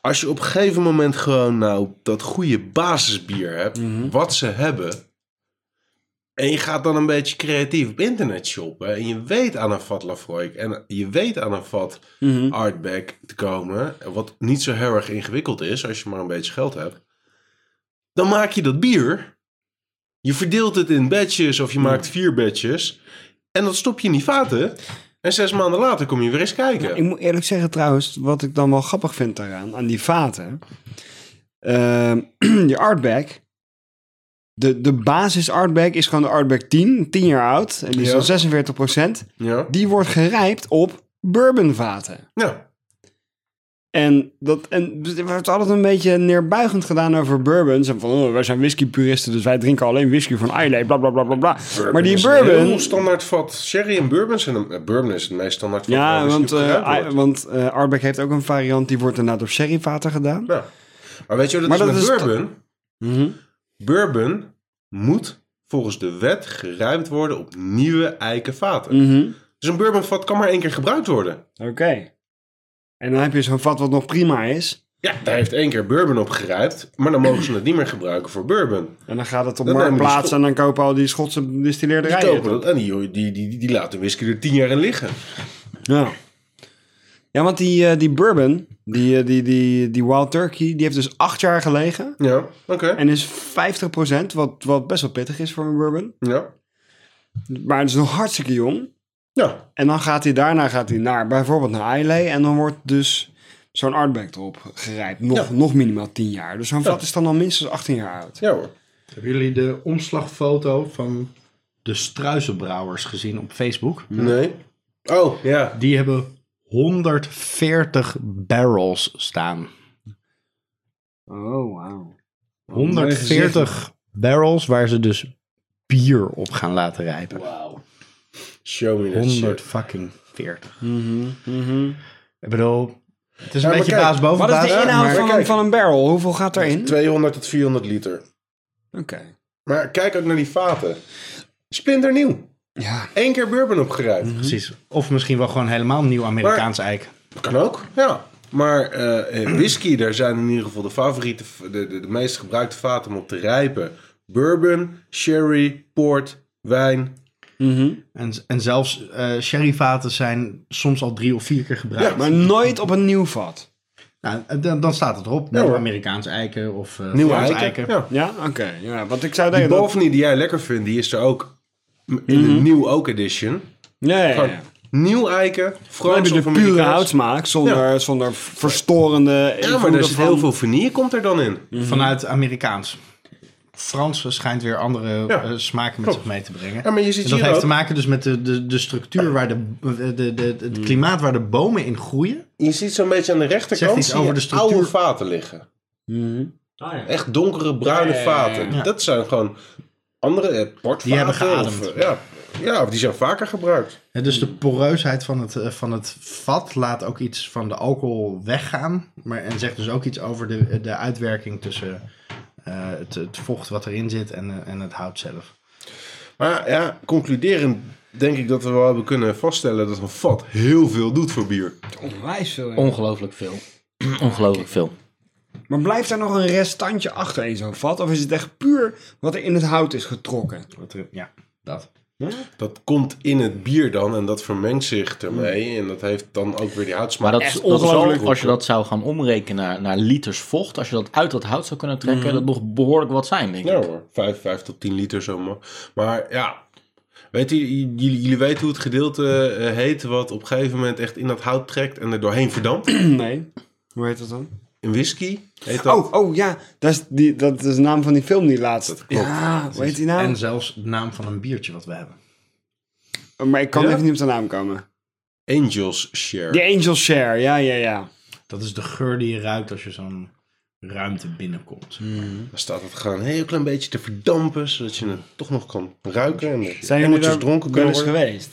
Speaker 2: als je op een gegeven moment gewoon nou dat goede basisbier hebt,
Speaker 4: Mhm.
Speaker 2: wat ze hebben. En je gaat dan een beetje creatief op internet shoppen. En je weet aan een vat Lafroik en je weet aan een vat
Speaker 4: Mhm.
Speaker 2: Artback te komen. Wat niet zo heel erg ingewikkeld is als je maar een beetje geld hebt. Dan maak je dat bier. Je verdeelt het in batches of je
Speaker 4: Mhm.
Speaker 2: maakt vier batches. En dat stop je in die vaten. En zes maanden later kom je weer eens kijken.
Speaker 4: Nou, Ik moet eerlijk zeggen trouwens, wat ik dan wel grappig vind daaraan, aan die vaten. Ehm die artbag. De, de basis artbag is gewoon de artbag 10, 10 jaar oud. En die is
Speaker 2: Ja.
Speaker 4: dan 46%.
Speaker 2: Ja.
Speaker 4: Die wordt gerijpt op bourbonvaten.
Speaker 2: ja.
Speaker 4: En dat en er wordt altijd een beetje neerbuigend gedaan over bourbons. En van, oh, wij zijn whiskypuristen, dus wij drinken alleen whisky van Islay, bla bla bla bla bla. maar die
Speaker 2: is
Speaker 4: bourbon...
Speaker 2: Een heel standaard vat. Sherry en bourbon zijn een, eh, bourbon is het meest standaard vat. waar
Speaker 4: Ja,
Speaker 2: whisky
Speaker 4: want,
Speaker 2: op
Speaker 4: eh,
Speaker 2: gebruikt
Speaker 4: I-
Speaker 2: wordt.
Speaker 4: want eh Arbeck heeft ook een variant, die wordt inderdaad op sherryvaten gedaan.
Speaker 2: Ja. Maar weet je wat het
Speaker 4: Maar
Speaker 2: is
Speaker 4: dat
Speaker 2: met
Speaker 4: is
Speaker 2: bourbon? Mhm. Bourbon moet volgens de wet geruimd worden op nieuwe eikenvaten.
Speaker 4: Mm.
Speaker 2: Dus een bourbonvat kan maar één keer gebruikt worden.
Speaker 4: Oké. En dan heb je zo'n vat wat nog prima is.
Speaker 2: Ja, daar heeft één keer bourbon op gerijpt, maar dan mogen ze het niet meer gebruiken voor bourbon.
Speaker 4: En dan gaat het op
Speaker 2: Dat nemen die
Speaker 4: marktplaats
Speaker 2: Schot-
Speaker 4: en dan kopen al die Schotse
Speaker 2: Die
Speaker 4: distilleerderijen.
Speaker 2: kopen dat en die, die, die, die laten whisky er tien jaar in liggen.
Speaker 4: Ja. Ja, want die, eh, die bourbon, die, eh, die, die, die Wild Turkey, die heeft dus acht jaar gelegen.
Speaker 2: Ja, oké.
Speaker 4: En is 50%, wat, wat best wel pittig is voor een bourbon.
Speaker 2: Ja.
Speaker 4: Maar het is nog hartstikke jong.
Speaker 2: ja.
Speaker 4: En dan gaat hij daarna gaat hij naar bijvoorbeeld naar Islay. En dan wordt dus zo'n artback erop gerijpt. Nog,
Speaker 2: Ja.
Speaker 4: nog minimaal 10 jaar. Dus zo'n vat is dan al minstens 18 jaar oud.
Speaker 2: Ja hoor.
Speaker 3: Hebben jullie de omslagfoto van de Struizenbrouwers gezien op Facebook?
Speaker 4: Mm.
Speaker 2: Nee. Oh, ja.
Speaker 3: Die hebben 140 barrels staan.
Speaker 4: Oh, wauw.
Speaker 3: 140 barrels waar ze dus bier op gaan laten rijpen.
Speaker 2: Show me that
Speaker 3: 100
Speaker 2: shit. Mhm,
Speaker 3: fucking 40. Ik bedoel, het is een
Speaker 2: maar
Speaker 3: beetje
Speaker 2: kijk,
Speaker 3: baas boven
Speaker 4: Wat is
Speaker 3: baas.
Speaker 4: de
Speaker 3: Ja,
Speaker 4: inhoud
Speaker 3: maar-
Speaker 4: van, een,
Speaker 2: kijk.
Speaker 4: van een barrel? Hoeveel gaat daarin? Oké.
Speaker 2: 200 tot 400 liter. Maar kijk ook naar die vaten. Splinternieuw.
Speaker 4: Ja.
Speaker 2: Eén keer bourbon opgeruimd.
Speaker 3: Precies. Of misschien wel gewoon helemaal nieuw Amerikaans eik.
Speaker 2: Kan ook, ja. Maar eh, eh, whisky, daar zijn in ieder geval de favoriete, de, de, de meest gebruikte vaten om op te rijpen. Bourbon, sherry, port, wijn.
Speaker 3: En, en zelfs eh sherryvaten zijn soms al drie of vier keer gebruikt.
Speaker 4: Maar nooit op een nieuw vat.
Speaker 3: Nou, dan, dan staat het erop. Nieuw
Speaker 2: hoor.
Speaker 3: Amerikaans eiken of eh
Speaker 2: Nieuwe
Speaker 3: Vlaams
Speaker 2: eiken. Ja.
Speaker 4: Ja, oké. Ja, want ik zou
Speaker 2: Die
Speaker 4: denken... dat-
Speaker 2: Balvenie die jij lekker vindt, die is er ook in de
Speaker 3: Mhm.
Speaker 2: nieuw ook edition.
Speaker 4: Ja, ja, ja.
Speaker 2: Gewoon nieuw eiken,
Speaker 4: Dan heb
Speaker 2: Frans
Speaker 4: je
Speaker 2: of
Speaker 4: de pure
Speaker 2: Amerikaans.
Speaker 4: houtsmaak zonder, zonder verstorende
Speaker 2: Ja, maar
Speaker 4: invloeden
Speaker 2: daar zit
Speaker 4: van-
Speaker 2: heel veel vanille komt er dan in.
Speaker 3: Mhm. vanuit Amerikaans. Frans schijnt weer andere
Speaker 2: Ja,
Speaker 3: eh, smaken met zich mee te brengen.
Speaker 2: Ja, maar je ziet
Speaker 3: en dat
Speaker 2: hier
Speaker 3: heeft
Speaker 2: ook-
Speaker 3: te maken dus met de, de, de structuur, waar de, de, de, de- het klimaat waar de bomen in groeien.
Speaker 2: Je ziet zo'n beetje aan de
Speaker 3: Zegt
Speaker 2: rechterkant
Speaker 3: iets
Speaker 2: zie je
Speaker 3: over de structuur.
Speaker 2: oude vaten liggen.
Speaker 4: Mhm. Ah,
Speaker 2: Echt donkere bruine vaten. Dat zijn gewoon andere eh, portvaten.
Speaker 3: Die hebben
Speaker 2: of,
Speaker 3: geademd.
Speaker 2: eh, ja, ja, of die zijn vaker gebruikt.
Speaker 3: Hè, dus de poreusheid van het, eh, van het vat laat ook iets van de alcohol weggaan. Maar, en zegt dus ook iets over de, de uitwerking tussen eh, het, het vocht wat erin zit en, eh, en het hout zelf.
Speaker 2: Maar ja, concluderend denk ik dat we wel hebben kunnen vaststellen dat een vat heel veel doet voor bier.
Speaker 4: Onwijs veel, ja.
Speaker 1: Ongelooflijk veel. Ongelooflijk veel.
Speaker 4: Maar blijft daar nog een restantje achter in zo'n vat? Of is het echt puur wat er in het hout is getrokken?
Speaker 3: Wat er- ja, dat.
Speaker 2: Dat komt in het bier dan en dat vermengt zich ermee. En dat heeft dan ook weer die
Speaker 1: Maar
Speaker 2: houtsmaak.
Speaker 1: dat, is- dat is ook, als je dat zou gaan omrekenen naar, naar liters vocht, als je dat uit dat hout zou kunnen
Speaker 4: Mhm.
Speaker 1: trekken, dat nog behoorlijk wat zijn, denk ik.
Speaker 2: Ja hoor, 5, 5 tot 10 liter zomaar. Maar ja, weet je, j- jullie, jullie weten hoe het gedeelte eh, heet wat op een gegeven moment echt in dat hout trekt en er doorheen verdampt.
Speaker 4: Nee. Hoe heet dat dan?
Speaker 2: In whisky heet dat.
Speaker 4: Oh, oh ja, dat is, die, dat is de naam van die film die laatst. ja, hoe heet die naam?
Speaker 3: En zelfs de naam van een biertje wat we hebben.
Speaker 4: Maar ik kan
Speaker 2: Ja?
Speaker 4: even niet op de naam komen.
Speaker 2: Angels Share.
Speaker 4: The Angel Share, ja, ja, ja.
Speaker 3: Dat is de geur die je ruikt als je zo'n ruimte binnenkomt.
Speaker 2: Daar staat het gewoon een heel klein beetje te verdampen, zodat je het toch nog kan ruiken. En de
Speaker 4: Zijn jullie
Speaker 2: emmertjes
Speaker 4: daar
Speaker 2: dronken
Speaker 4: wel
Speaker 2: kunnen
Speaker 4: eens
Speaker 2: worden.
Speaker 4: geweest?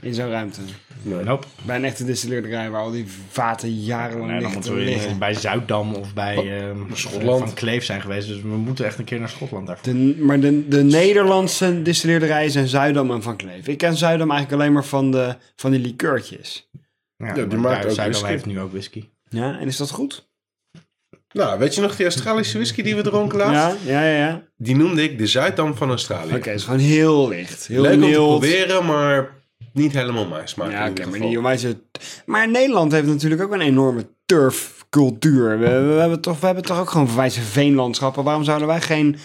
Speaker 4: In zo'n ruimte.
Speaker 3: Nope.
Speaker 4: Bij een echte distilleerderij waar al die vaten jarenlang
Speaker 3: Nee, dan
Speaker 4: liggen
Speaker 3: moeten
Speaker 4: te
Speaker 3: we
Speaker 4: liggen.
Speaker 3: in- bij Zuiddam of bij ehm
Speaker 2: Schotland.
Speaker 3: Van Kleef zijn geweest. Dus we moeten echt een keer naar Schotland daarvoor.
Speaker 4: De, maar de, de Nederlandse distilleerderijen zijn Zuidam en Van Kleef. Ik ken Zuidam eigenlijk alleen maar van, de, van die likeurtjes.
Speaker 3: Ja,
Speaker 2: die
Speaker 3: maar
Speaker 2: maakt
Speaker 3: daar-
Speaker 2: ook
Speaker 3: Zuidam
Speaker 2: whisky.
Speaker 3: heeft nu ook whisky.
Speaker 4: Ja, en is dat goed?
Speaker 2: Nou, weet je nog die Australische whisky die we dronken laatst?
Speaker 4: Ja, ja, ja. ja.
Speaker 2: Die noemde ik de Zuidam van Australië.
Speaker 4: Oké, het is gewoon heel licht. Heel
Speaker 2: Leuk om te
Speaker 4: mild.
Speaker 2: proberen, maar niet helemaal mijn smaak.
Speaker 4: Ja,
Speaker 2: in
Speaker 4: oké,
Speaker 2: ieder
Speaker 4: maar,
Speaker 2: geval.
Speaker 4: die wij zijn- maar Nederland heeft natuurlijk ook een enorme turfcultuur. We, we, we hebben toch, we hebben toch ook gewoon wijze veenlandschappen. Waarom zouden wij geen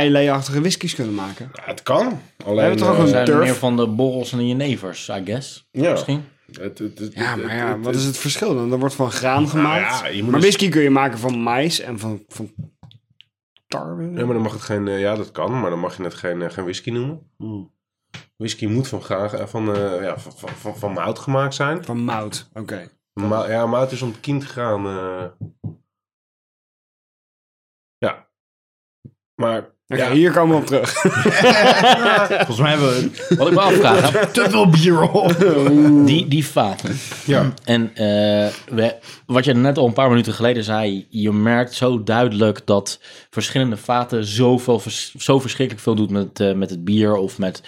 Speaker 4: ILA-achtige whiskies kunnen maken?
Speaker 2: Ja, het kan. Alleen,
Speaker 4: hebben toch ook
Speaker 2: eh,
Speaker 1: We
Speaker 4: een-
Speaker 1: zijn
Speaker 4: Turf.
Speaker 1: meer van de borrels en de jenevers, I guess.
Speaker 2: Ja.
Speaker 1: Misschien.
Speaker 2: het- het- het-
Speaker 4: Ja,
Speaker 2: het-
Speaker 4: maar ja,
Speaker 2: het-
Speaker 4: wat is het verschil dan? Er wordt van graan gemaakt.
Speaker 2: ja, je moet
Speaker 4: maar
Speaker 2: dus-
Speaker 4: whisky kun je maken van mais en van, van tarwe.
Speaker 2: Nee, maar dan mag het geen... eh, ja, dat kan, maar dan mag je het geen, eh, geen whisky noemen. Whisky moet van, graag, eh, van, eh, ja, van, van, van, van mout gemaakt zijn.
Speaker 4: Van mout, oké.
Speaker 2: Ma ja, mout is ontkiemd gegaan. eh. Ja. Maar...
Speaker 4: Oké,
Speaker 2: ja,
Speaker 4: hier komen we op terug.
Speaker 3: Volgens mij hebben we
Speaker 1: Wat ik me afvraag, hè,
Speaker 3: te veel bier op.
Speaker 1: die, die vaten.
Speaker 2: ja.
Speaker 1: En eh, we, wat je net al een paar minuten geleden zei, je merkt zo duidelijk dat verschillende vaten zoveel, vers- zo verschrikkelijk veel doet met, eh, met het bier of met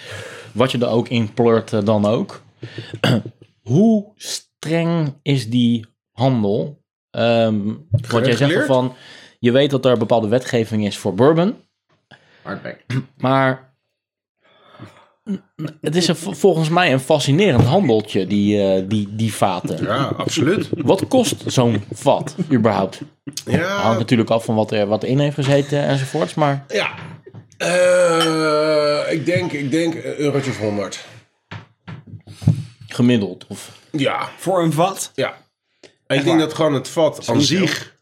Speaker 1: wat je er ook in pleurt eh, dan ook. Hoe streng is die handel? Ehm want jij zegt
Speaker 2: Gereguleerd?
Speaker 1: al van, je weet dat er bepaalde wetgeving is voor bourbon.
Speaker 3: Hardback.
Speaker 1: Maar het is een, volgens mij een fascinerend handeltje, die, eh, die, die vaten.
Speaker 2: ja, absoluut.
Speaker 1: Wat kost zo'n vat überhaupt? Hangt
Speaker 2: Ja,
Speaker 1: natuurlijk af van wat er wat in heeft gezeten enzovoorts. Maar
Speaker 2: ja. Eh, ik denk, ik denk, eh, eurotje of 100.
Speaker 1: gemiddeld. Of,
Speaker 2: Ja,
Speaker 4: Voor een vat?
Speaker 2: Ja. En ik denk dat gewoon het vat aan zich.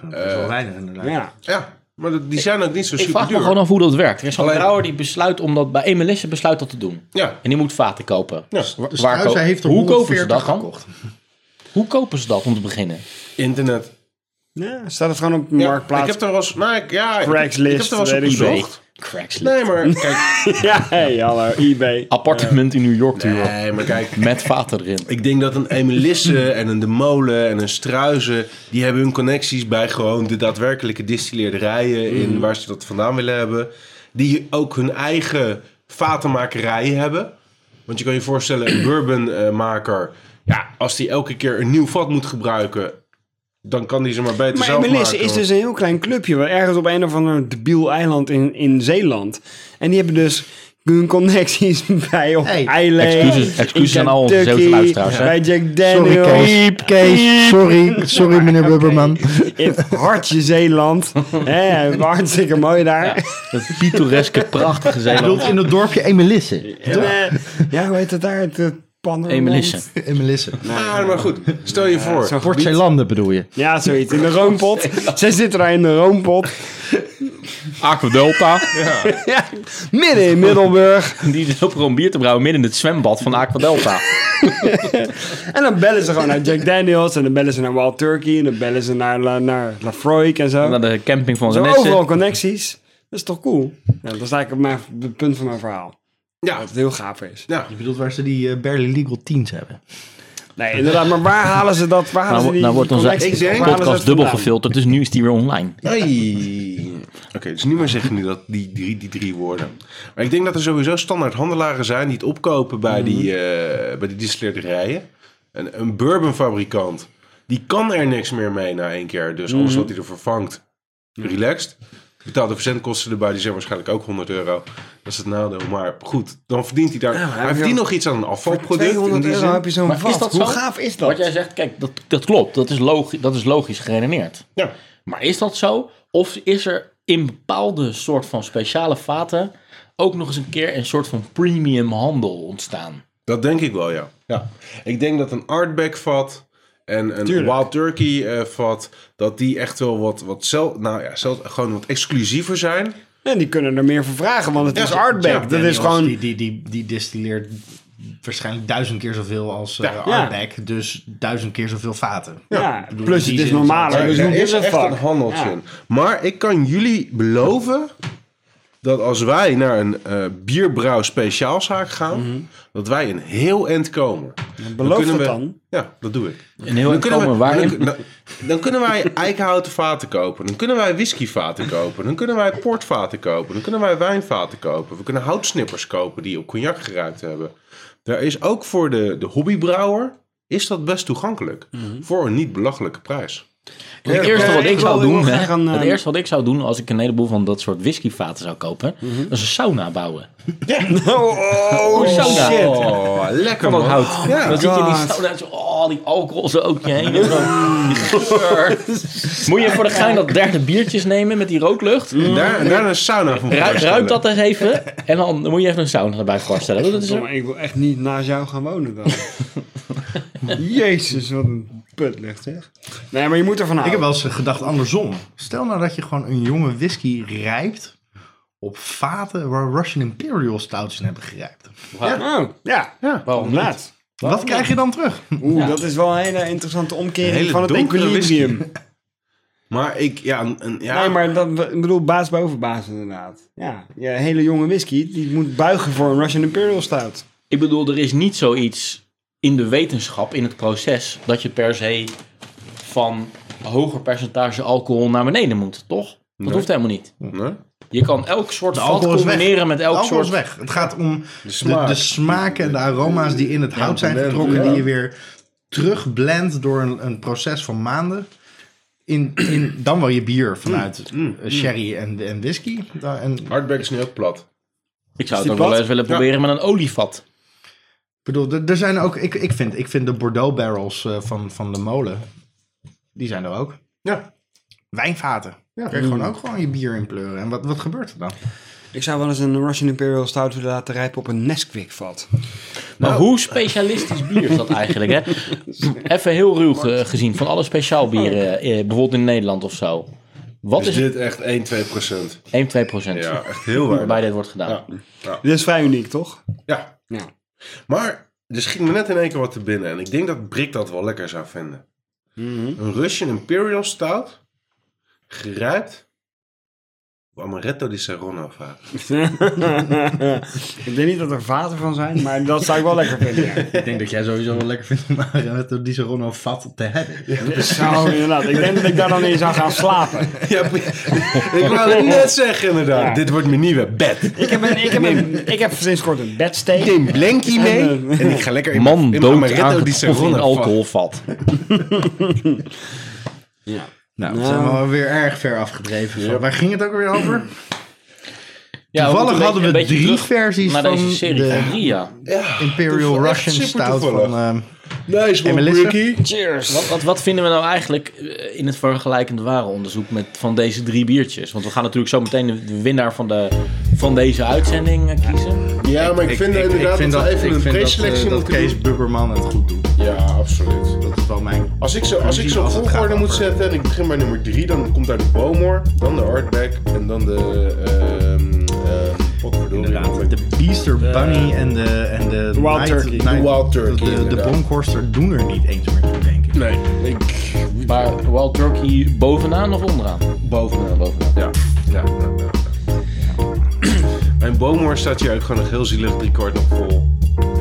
Speaker 3: Dat is wel weinig inderdaad.
Speaker 4: Ja.
Speaker 2: Ja, maar dat- die zijn ook niet zo
Speaker 1: ik
Speaker 2: super
Speaker 1: vraag me
Speaker 2: duur.
Speaker 1: gewoon af hoe dat werkt. Er is een
Speaker 2: Alleen-
Speaker 1: brouwer die besluit om dat bij Emelisse besluit dat te doen.
Speaker 2: Ja.
Speaker 1: En die moet vaten kopen.
Speaker 2: Ja.
Speaker 1: Wa-
Speaker 3: Dus
Speaker 1: waar
Speaker 3: thuis,
Speaker 1: ko-
Speaker 3: hij heeft er
Speaker 1: hoe kopen ze
Speaker 3: 140
Speaker 1: dat dan?
Speaker 3: gekocht.
Speaker 1: Hoe kopen ze dat om te beginnen?
Speaker 2: Internet.
Speaker 4: ja. Staat het gewoon op
Speaker 2: Ja,
Speaker 4: marktplaats?
Speaker 2: Ik heb er wel eens. Nou, ik, ja, ik-
Speaker 4: Craigslist,
Speaker 2: Ik heb er wel eens op
Speaker 4: weet ik veel.
Speaker 2: gezocht.
Speaker 1: Craigslist.
Speaker 2: Nee, maar kijk.
Speaker 4: Ja, hey, hallo, eBay.
Speaker 1: Appartement in New York te huren.
Speaker 2: Nee, maar kijk.
Speaker 1: Met vaten erin.
Speaker 2: Ik denk dat een Emelisse en een De Molen en een Struizen... die hebben hun connecties bij gewoon de daadwerkelijke distilleerderijen...
Speaker 4: Mm.
Speaker 2: in waar ze dat vandaan willen hebben. Die ook hun eigen vatenmakerijen hebben. Want je kan je voorstellen, een bourbonmaker... ja, als die elke keer een nieuw vat moet gebruiken... dan kan die ze maar beter
Speaker 4: Maar
Speaker 2: zelf
Speaker 4: Emelisse
Speaker 2: maken.
Speaker 4: is dus een heel klein clubje, wel ergens op een of ander debiel eiland in, in Zeeland. En die hebben dus hun connecties bij op
Speaker 3: Hey,
Speaker 4: Eiland.
Speaker 1: Excuses,
Speaker 4: in
Speaker 1: excuses aan al onze
Speaker 4: Kentucky,
Speaker 1: Zeeuwse luisteraars. hè.
Speaker 4: Bij Jack Daniels. Piep.
Speaker 3: Sorry, sorry meneer Bubberman.
Speaker 4: In het hartje Zeeland. Hé, hartstikke mooi daar.
Speaker 1: Dat pittoreske, prachtige Zeeland.
Speaker 3: in het dorpje Emelisse.
Speaker 4: En, eh, ja, hoe heet het daar? Het, eh, Pannerland?
Speaker 1: Emelisse.
Speaker 3: Emelisse.
Speaker 2: Ah, maar goed, stel je voor.
Speaker 4: Zo'n
Speaker 3: Port
Speaker 4: gebied.
Speaker 3: Zeelanden bedoel je?
Speaker 4: Ja, zoiets. In de roompot. Zij zitten daar in de roompot.
Speaker 1: Aqua Delta.
Speaker 4: Ja, midden in Middelburg.
Speaker 1: Die dus lopen gewoon bier te brouwen midden in het zwembad van Aqua Delta.
Speaker 4: En dan bellen ze gewoon naar Jack Daniels. En dan bellen ze naar Wild Turkey. En dan bellen ze naar, La- naar Lafroik en zo.
Speaker 1: Naar de camping van
Speaker 4: Zo
Speaker 1: Renesse.
Speaker 4: overal connecties. Dat is toch cool? Ja, dat is eigenlijk op mijn, het punt van mijn verhaal.
Speaker 2: Ja,
Speaker 4: Dat het heel gaaf is.
Speaker 2: ja.
Speaker 3: Je bedoelt waar ze die eh, Barely Legal Teens hebben.
Speaker 4: Nee, inderdaad. Maar waar halen ze dat? Waar halen
Speaker 1: Nou,
Speaker 4: ze die
Speaker 1: nou wordt onze
Speaker 4: connecties?
Speaker 2: Ik denk-
Speaker 4: Waar halen ze
Speaker 1: podcast
Speaker 4: dat
Speaker 1: dubbel
Speaker 4: vandaan?
Speaker 1: gefilterd, dus nu is die weer online.
Speaker 2: Hey. Oké, dus niet meer zeggen nu dat die drie, die drie woorden. Maar ik denk dat er sowieso standaard handelaren zijn die het opkopen bij die,
Speaker 4: Mhm.
Speaker 2: eh bij die distilleerderijen. Een, een bourbonfabrikant,
Speaker 4: Mhm.
Speaker 2: die kan er niks meer mee na één keer. Dus alles wat hij er vervangt, relaxed. Betaalt de verzendkosten erbij, die zijn waarschijnlijk ook 100 euro. Dat is het nadeel. Maar goed, dan verdient hij daar.
Speaker 4: Ja, maar
Speaker 2: hij
Speaker 4: heb je
Speaker 2: verdient
Speaker 4: al-
Speaker 2: nog iets aan een afvalproduct. in
Speaker 4: 200
Speaker 2: die
Speaker 4: euro
Speaker 2: zin.
Speaker 4: heb je zo'n
Speaker 1: Maar is
Speaker 4: vast.
Speaker 1: dat
Speaker 4: Hoe
Speaker 1: zo?
Speaker 4: gaaf is
Speaker 1: Wat
Speaker 4: dat?
Speaker 1: jij zegt, kijk, dat, dat klopt. Dat is, logisch, dat is logisch geredeneerd.
Speaker 2: Ja.
Speaker 1: Maar is dat zo? Of is er in bepaalde soort van speciale vaten ook nog eens een keer een soort van premium handel ontstaan?
Speaker 2: Dat denk ik wel, ja. ja. Ik denk dat een Artback vat en een Wild Turkey eh, vat, dat die echt wel wat, wat zelf, nou ja, zelfs gewoon wat exclusiever zijn.
Speaker 4: En die kunnen er meer voor vragen, want het
Speaker 2: Ja,
Speaker 4: is Artback.
Speaker 2: ja,
Speaker 4: dat is
Speaker 3: Daniels,
Speaker 4: gewoon...
Speaker 3: Die, die, die, die distilleert waarschijnlijk duizend keer zoveel als eh
Speaker 2: Ja.
Speaker 3: Ardbeg. Dus duizend keer zoveel vaten.
Speaker 4: Ja,
Speaker 3: Ik bedoel,
Speaker 4: plus
Speaker 3: in
Speaker 4: het
Speaker 3: die
Speaker 4: is
Speaker 3: zin
Speaker 4: normaler.
Speaker 3: het-
Speaker 4: dus
Speaker 2: er
Speaker 4: hoe
Speaker 2: is
Speaker 4: is het
Speaker 2: echt
Speaker 4: vak?
Speaker 2: een handeltje.
Speaker 4: Ja.
Speaker 2: in. Maar ik kan jullie beloven dat als wij naar een eh bierbrouw speciaalzaak gaan, dat wij een heel eind komen.
Speaker 4: Mhm. beloof
Speaker 2: kunnen
Speaker 4: dat
Speaker 2: we-
Speaker 4: dan.
Speaker 2: Ja, dat doe ik.
Speaker 1: Een heel
Speaker 2: Dan kunnen,
Speaker 1: inkomen
Speaker 2: we,
Speaker 1: waarin...
Speaker 2: dan, dan, dan kunnen wij eikenhouten vaten kopen. Dan kunnen wij whiskyvaten kopen. Dan kunnen wij portvaten kopen. Dan kunnen wij wijnvaten kopen. We kunnen houtsnippers kopen die op cognac geruikt hebben. Daar is ook voor de, de hobbybrouwer is dat best toegankelijk. Voor een niet belachelijke prijs.
Speaker 1: Het eerste
Speaker 4: Ja,
Speaker 1: wat
Speaker 4: ik
Speaker 1: ik
Speaker 4: wil-
Speaker 1: zou
Speaker 4: ik wil
Speaker 1: doen,
Speaker 4: graag
Speaker 1: hè,
Speaker 4: een,
Speaker 1: het
Speaker 4: eh,
Speaker 1: eerste wat ik zou doen als ik een heleboel van dat soort whiskyvaten zou kopen, dat is een sauna bouwen.
Speaker 4: Mhm. Oh,
Speaker 1: Een sauna.
Speaker 2: Oh, lekker
Speaker 1: Van dat
Speaker 2: man.
Speaker 1: hout.
Speaker 2: Ja.
Speaker 1: dan zit je in die
Speaker 4: God.
Speaker 1: sauna, en zo, oh, die alcohol zo ook je heen. en zo. Die geur. Moet je voor de gein dat derde biertjes nemen met die rooklucht?
Speaker 4: Mm.
Speaker 2: Daar, daar een sauna van
Speaker 1: Ruik,
Speaker 2: voorstellen.
Speaker 1: ruik dat eens even en dan moet je even een sauna erbij voorstellen. Dat is
Speaker 4: Verdomme, ik wil echt niet naast jou gaan wonen dan. Jezus, wat een putlicht zeg. Nee, maar je moet ervan
Speaker 3: Ik
Speaker 4: houden.
Speaker 3: heb wel eens gedacht andersom. Stel nou dat je gewoon een jonge whisky rijpt op vaten waar Russian Imperial stouts in hebben gerijpt.
Speaker 4: Ja, oh, ja. ja
Speaker 1: Waarom niet?
Speaker 4: inderdaad.
Speaker 3: Wat krijg je dan terug?
Speaker 4: Oeh, dat is wel een hele interessante omkering
Speaker 2: Hele
Speaker 4: van het
Speaker 2: donkere
Speaker 4: equilibrium.
Speaker 2: Maar ik, ja, een- een, ja.
Speaker 4: Nee, maar dat, ik bedoel, baas boven baas inderdaad. Ja, je hele jonge whisky, die moet buigen voor een Russian Imperial Stout.
Speaker 1: Ik bedoel, er is niet zoiets in de wetenschap, in het proces, dat je per se van hoger percentage alcohol naar beneden moet, toch? Dat hoeft helemaal niet.
Speaker 2: Nee?
Speaker 1: Je kan elk soort
Speaker 3: De
Speaker 1: vat
Speaker 3: alcohol is weg.
Speaker 1: combineren met
Speaker 3: De
Speaker 1: elk
Speaker 3: alcohol
Speaker 1: soort...
Speaker 3: is weg. Het gaat om de,
Speaker 2: smaak.
Speaker 3: de smaken en de aroma's die in het hout zijn
Speaker 2: blend,
Speaker 3: getrokken,
Speaker 2: ja.
Speaker 3: die je weer terugblendt door een, een proces van maanden. In, in dan wel je bier vanuit eh, sherry en, en whisky. Da- En, ik
Speaker 2: Hardback is nu ook plat.
Speaker 1: Ik
Speaker 3: Dus
Speaker 1: zou het
Speaker 4: die
Speaker 1: ook wel
Speaker 4: plat?
Speaker 1: eens willen proberen met een olievat.
Speaker 3: bedoel, er- er zijn ook. Ik, ik, vind, ik vind de Bordeaux barrels eh, van, van de molen. Die zijn er ook.
Speaker 2: Ja.
Speaker 3: Wijnvaten. Daar kun je gewoon ook gewoon je bier in pleuren. En wat, wat gebeurt er dan?
Speaker 4: Ik zou wel eens een Russian Imperial Stout willen laten rijpen op een Nesquik-vat.
Speaker 1: Maar
Speaker 3: Nou.
Speaker 1: hoe specialistisch bier is dat eigenlijk, hè? Even heel ruw ge- gezien, van alle
Speaker 3: Oh,
Speaker 1: speciaalbieren, eh, bijvoorbeeld in Nederland of zo.
Speaker 3: Dus
Speaker 1: Wat
Speaker 2: Is
Speaker 1: is het?
Speaker 2: dit echt 1, 2 procent?
Speaker 1: 1, 2 procent
Speaker 2: Ja, echt heel
Speaker 1: waarbij
Speaker 2: weinig.
Speaker 1: dit wordt gedaan.
Speaker 2: Ja. Ja.
Speaker 4: Dit is vrij uniek, toch?
Speaker 2: ja.
Speaker 4: Ja.
Speaker 2: Maar er schiet me net in één keer wat te binnen. En ik denk dat Brik dat wel lekker zou vinden.
Speaker 3: Mhm.
Speaker 2: Een Russian Imperial Stout. Gerijpt. op Amaretto di Serrano vaak.
Speaker 4: ik denk niet dat er vaten van zijn, maar dat zou ik wel lekker vinden. ja.
Speaker 3: Ik denk dat jij sowieso wel lekker vindt om Amaretto di Serrano vat te hebben.
Speaker 4: Dat zou inderdaad. Ik denk dat ik daar dan in zou gaan slapen.
Speaker 2: Ja, ik wou het net zeggen inderdaad.
Speaker 4: Ja.
Speaker 2: Dit wordt mijn nieuwe bed.
Speaker 4: Ik heb, een, ik, heb een, ik heb sinds kort een bedsteek.
Speaker 2: Ik neem Blankie mee.
Speaker 4: En, eh,
Speaker 2: En ik ga lekker in
Speaker 1: Man
Speaker 2: in
Speaker 1: dood
Speaker 2: Amaretto di
Speaker 1: aangetroffen in
Speaker 2: Serrano
Speaker 1: een
Speaker 2: alcohol.
Speaker 1: alcoholvat.
Speaker 3: Nou, we zijn wel weer erg ver afgedreven. van- Waar ging het ook weer over?
Speaker 1: Ja,
Speaker 3: Toevallig
Speaker 1: moeten een
Speaker 3: hadden we
Speaker 1: beetje- een beetje
Speaker 3: drie
Speaker 1: terug
Speaker 3: versies
Speaker 1: naar
Speaker 3: van
Speaker 1: deze serie
Speaker 3: de-
Speaker 1: van drie, ja.
Speaker 3: Imperial
Speaker 2: toevallig.
Speaker 3: Russian
Speaker 2: Super
Speaker 3: Stout
Speaker 2: toevallig.
Speaker 3: van... ehm,
Speaker 2: Nice
Speaker 3: En
Speaker 2: one,
Speaker 3: Melissa?
Speaker 2: Brickie.
Speaker 1: Wat, wat, wat vinden we nou eigenlijk eh, in het vergelijkend ware onderzoek met, van deze drie biertjes? Want we gaan natuurlijk zo meteen de- de winnaar van, de, van deze uitzending eh, kiezen.
Speaker 2: Ja, maar ik, vind inderdaad
Speaker 3: vind
Speaker 2: dat we even
Speaker 3: ik
Speaker 2: een
Speaker 3: vind dat, eh,
Speaker 2: preselectie
Speaker 3: dat
Speaker 2: moeten
Speaker 3: Kees
Speaker 2: doen.
Speaker 3: Bubberman het goed doet.
Speaker 2: Ja, absoluut.
Speaker 3: Dat is wel mijn...
Speaker 2: Als ik zo, als ik
Speaker 3: Zien
Speaker 2: zo
Speaker 3: als het
Speaker 2: volgorde
Speaker 3: gaat
Speaker 2: moet
Speaker 3: over.
Speaker 2: zetten en ik begin bij nummer 3, dan komt daar de Bowmore, dan de Hardback en dan de. ehm eh potverdorie,
Speaker 3: Inderdaad,
Speaker 2: de
Speaker 3: de Beaster Bunny en de... En de
Speaker 4: Wild
Speaker 3: Night-
Speaker 4: Turkey.
Speaker 3: Night-
Speaker 2: De Wild Eh, Turkey,
Speaker 3: De, de,
Speaker 2: inderdaad.
Speaker 3: Bronkhorster doen er niet eens meer toe, denk ik.
Speaker 2: Nee, ik.
Speaker 1: Maar Wild Turkey bovenaan of onderaan?
Speaker 2: Bovenaan, bovenaan. Ja, ja, ja. ja, ja. Mijn Bowmore staat hier ook gewoon nog heel zielig driekwart nog vol.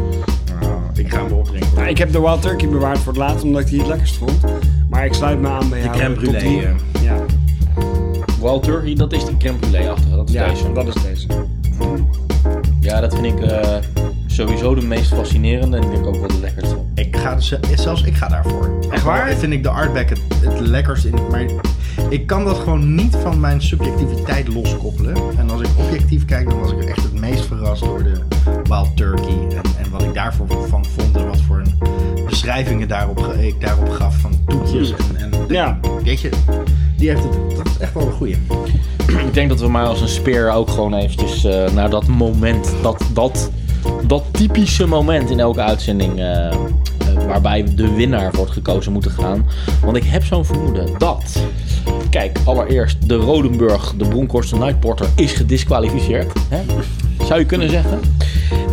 Speaker 3: Nou, ik ga hem opdrinken.
Speaker 4: Nou, ik heb de Wild Turkey bewaard voor het laatst, omdat ik die het lekkerst vond. Maar ik sluit me aan bij jou.
Speaker 3: crème
Speaker 4: Tot
Speaker 3: brûlée,
Speaker 4: die-
Speaker 2: eh.
Speaker 3: ja.
Speaker 4: Ja,
Speaker 1: Wild Turkey, dat is die crème brûlée achter. Dat is
Speaker 4: ja
Speaker 1: deze.
Speaker 4: dat is deze.
Speaker 1: Ja, dat vind ik eh, sowieso de meest fascinerende en ik denk ook wel de lekkerste.
Speaker 3: Ik ga, dus- zelfs ik ga daarvoor. Echt
Speaker 4: waar?
Speaker 3: Vind ik de artback het, het lekkerst. In, maar ik kan dat gewoon niet van mijn subjectiviteit loskoppelen. En als ik objectief kijk, dan was ik echt het meest verrast door de Wild Turkey. En, en wat ik daarvoor van vond en wat voor een beschrijvingen daarop, ge- ik daarop gaf van toetjes. En, en
Speaker 4: Ja.
Speaker 3: weet je, die heeft het, dat is echt wel een goeie.
Speaker 1: Ik denk dat we maar als een speer ook gewoon eventjes eh, naar dat moment, dat, dat, dat typische moment in elke uitzending eh, eh, waarbij de winnaar wordt gekozen moeten gaan. Want ik heb zo'n vermoeden dat, kijk, allereerst de Rodenburg, de Bronkhorst Night Porter, is gedisqualificeerd. Hè? Zou je kunnen zeggen.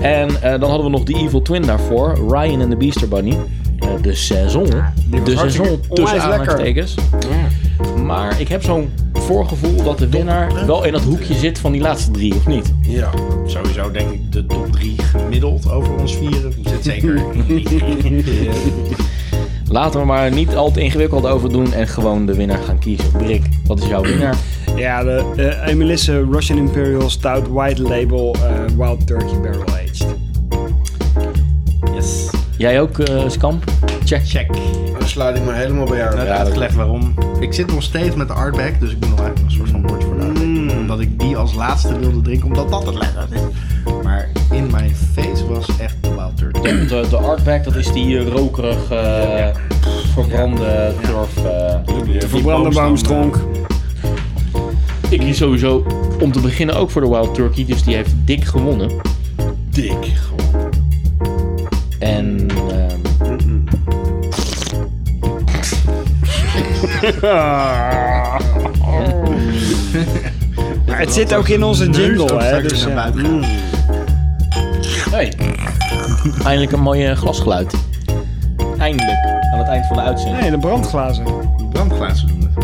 Speaker 1: En eh, dan hadden we nog de Evil Twin daarvoor, Ryan en de Beaster Bunny. Eh, de saison, de saison tussen
Speaker 4: onwijs lekker.
Speaker 1: aanhalingstekens. Maar ik heb zo'n voorgevoel dat de winnaar wel in dat hoekje zit van die laatste drie, of niet?
Speaker 2: Ja.
Speaker 3: Sowieso denk ik de top 3 gemiddeld over ons vieren. Zit zeker.
Speaker 1: Laten we maar niet al te ingewikkeld over doen en gewoon de winnaar gaan kiezen. Brik, wat is jouw winnaar?
Speaker 4: Ja, de eh Emelisse Russian Imperial Stout White Label eh, Wild Turkey Barrel Aged.
Speaker 3: yes.
Speaker 1: Jij ook, eh Skamp? Check.
Speaker 3: Check.
Speaker 2: Dan sluit ik me helemaal bij
Speaker 3: Net
Speaker 2: aan.
Speaker 3: uitgelegd waarom. Ik zit nog steeds met de Artback, dus ik moet nog eigenlijk een soort van bordje voor de Artback
Speaker 4: Mm.
Speaker 3: doen. Omdat ik die als laatste wilde drinken, omdat dat het lekker is. Maar in mijn face was echt de Wild Turkey.
Speaker 1: De, de artback, dat is die eh, rokerige, eh, verbrande turf. eh.
Speaker 2: De
Speaker 4: Verbrande boomstronk.
Speaker 1: Ik kies sowieso om te beginnen ook voor de Wild Turkey, dus die heeft dik gewonnen.
Speaker 2: Dik. gewoon.
Speaker 1: En ehm,
Speaker 4: Maar het zit ook in onze jingle, hè. Dus,
Speaker 3: naar
Speaker 4: ja.
Speaker 3: buiten gaan.
Speaker 1: Hey. Eindelijk een mooi glasgeluid. Eindelijk. Aan het eind van de uitzending.
Speaker 4: Nee, de brandglazen.
Speaker 3: Die brandglazen doen het.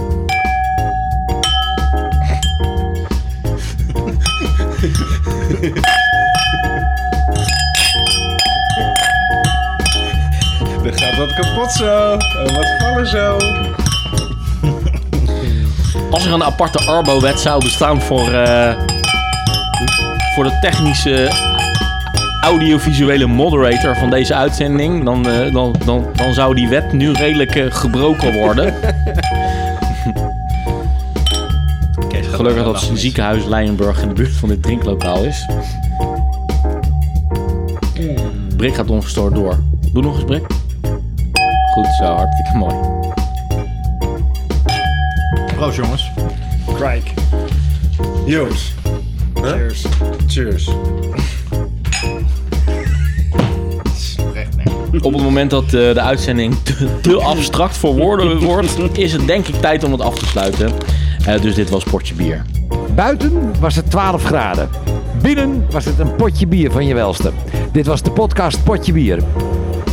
Speaker 2: Dan gaat dat kapot zo. En wat vallen zo.
Speaker 1: Als er een aparte Arbo-wet zou bestaan voor, eh, voor de technische audiovisuele moderator van deze uitzending, dan, eh, dan, dan, dan zou die wet nu redelijk eh, gebroken worden. Gelukkig dat het ziekenhuis Leijenburg in de buurt van dit drinklokaal is. Brik gaat ongestoord door. Doe nog eens, Brik. Goed zo, hartstikke mooi.
Speaker 3: Proost jongens.
Speaker 4: Crike.
Speaker 2: Joost. Cheers. Cheers.
Speaker 3: Oprecht, nee.
Speaker 1: Op het moment dat eh, de uitzending te, te abstract voor woorden wordt, is het denk ik tijd om het af te sluiten. Eh, dus dit was Portje Bier.
Speaker 6: Buiten was het 12 graden. Binnen was het een potje bier van je welste. Dit was de podcast Potje Bier.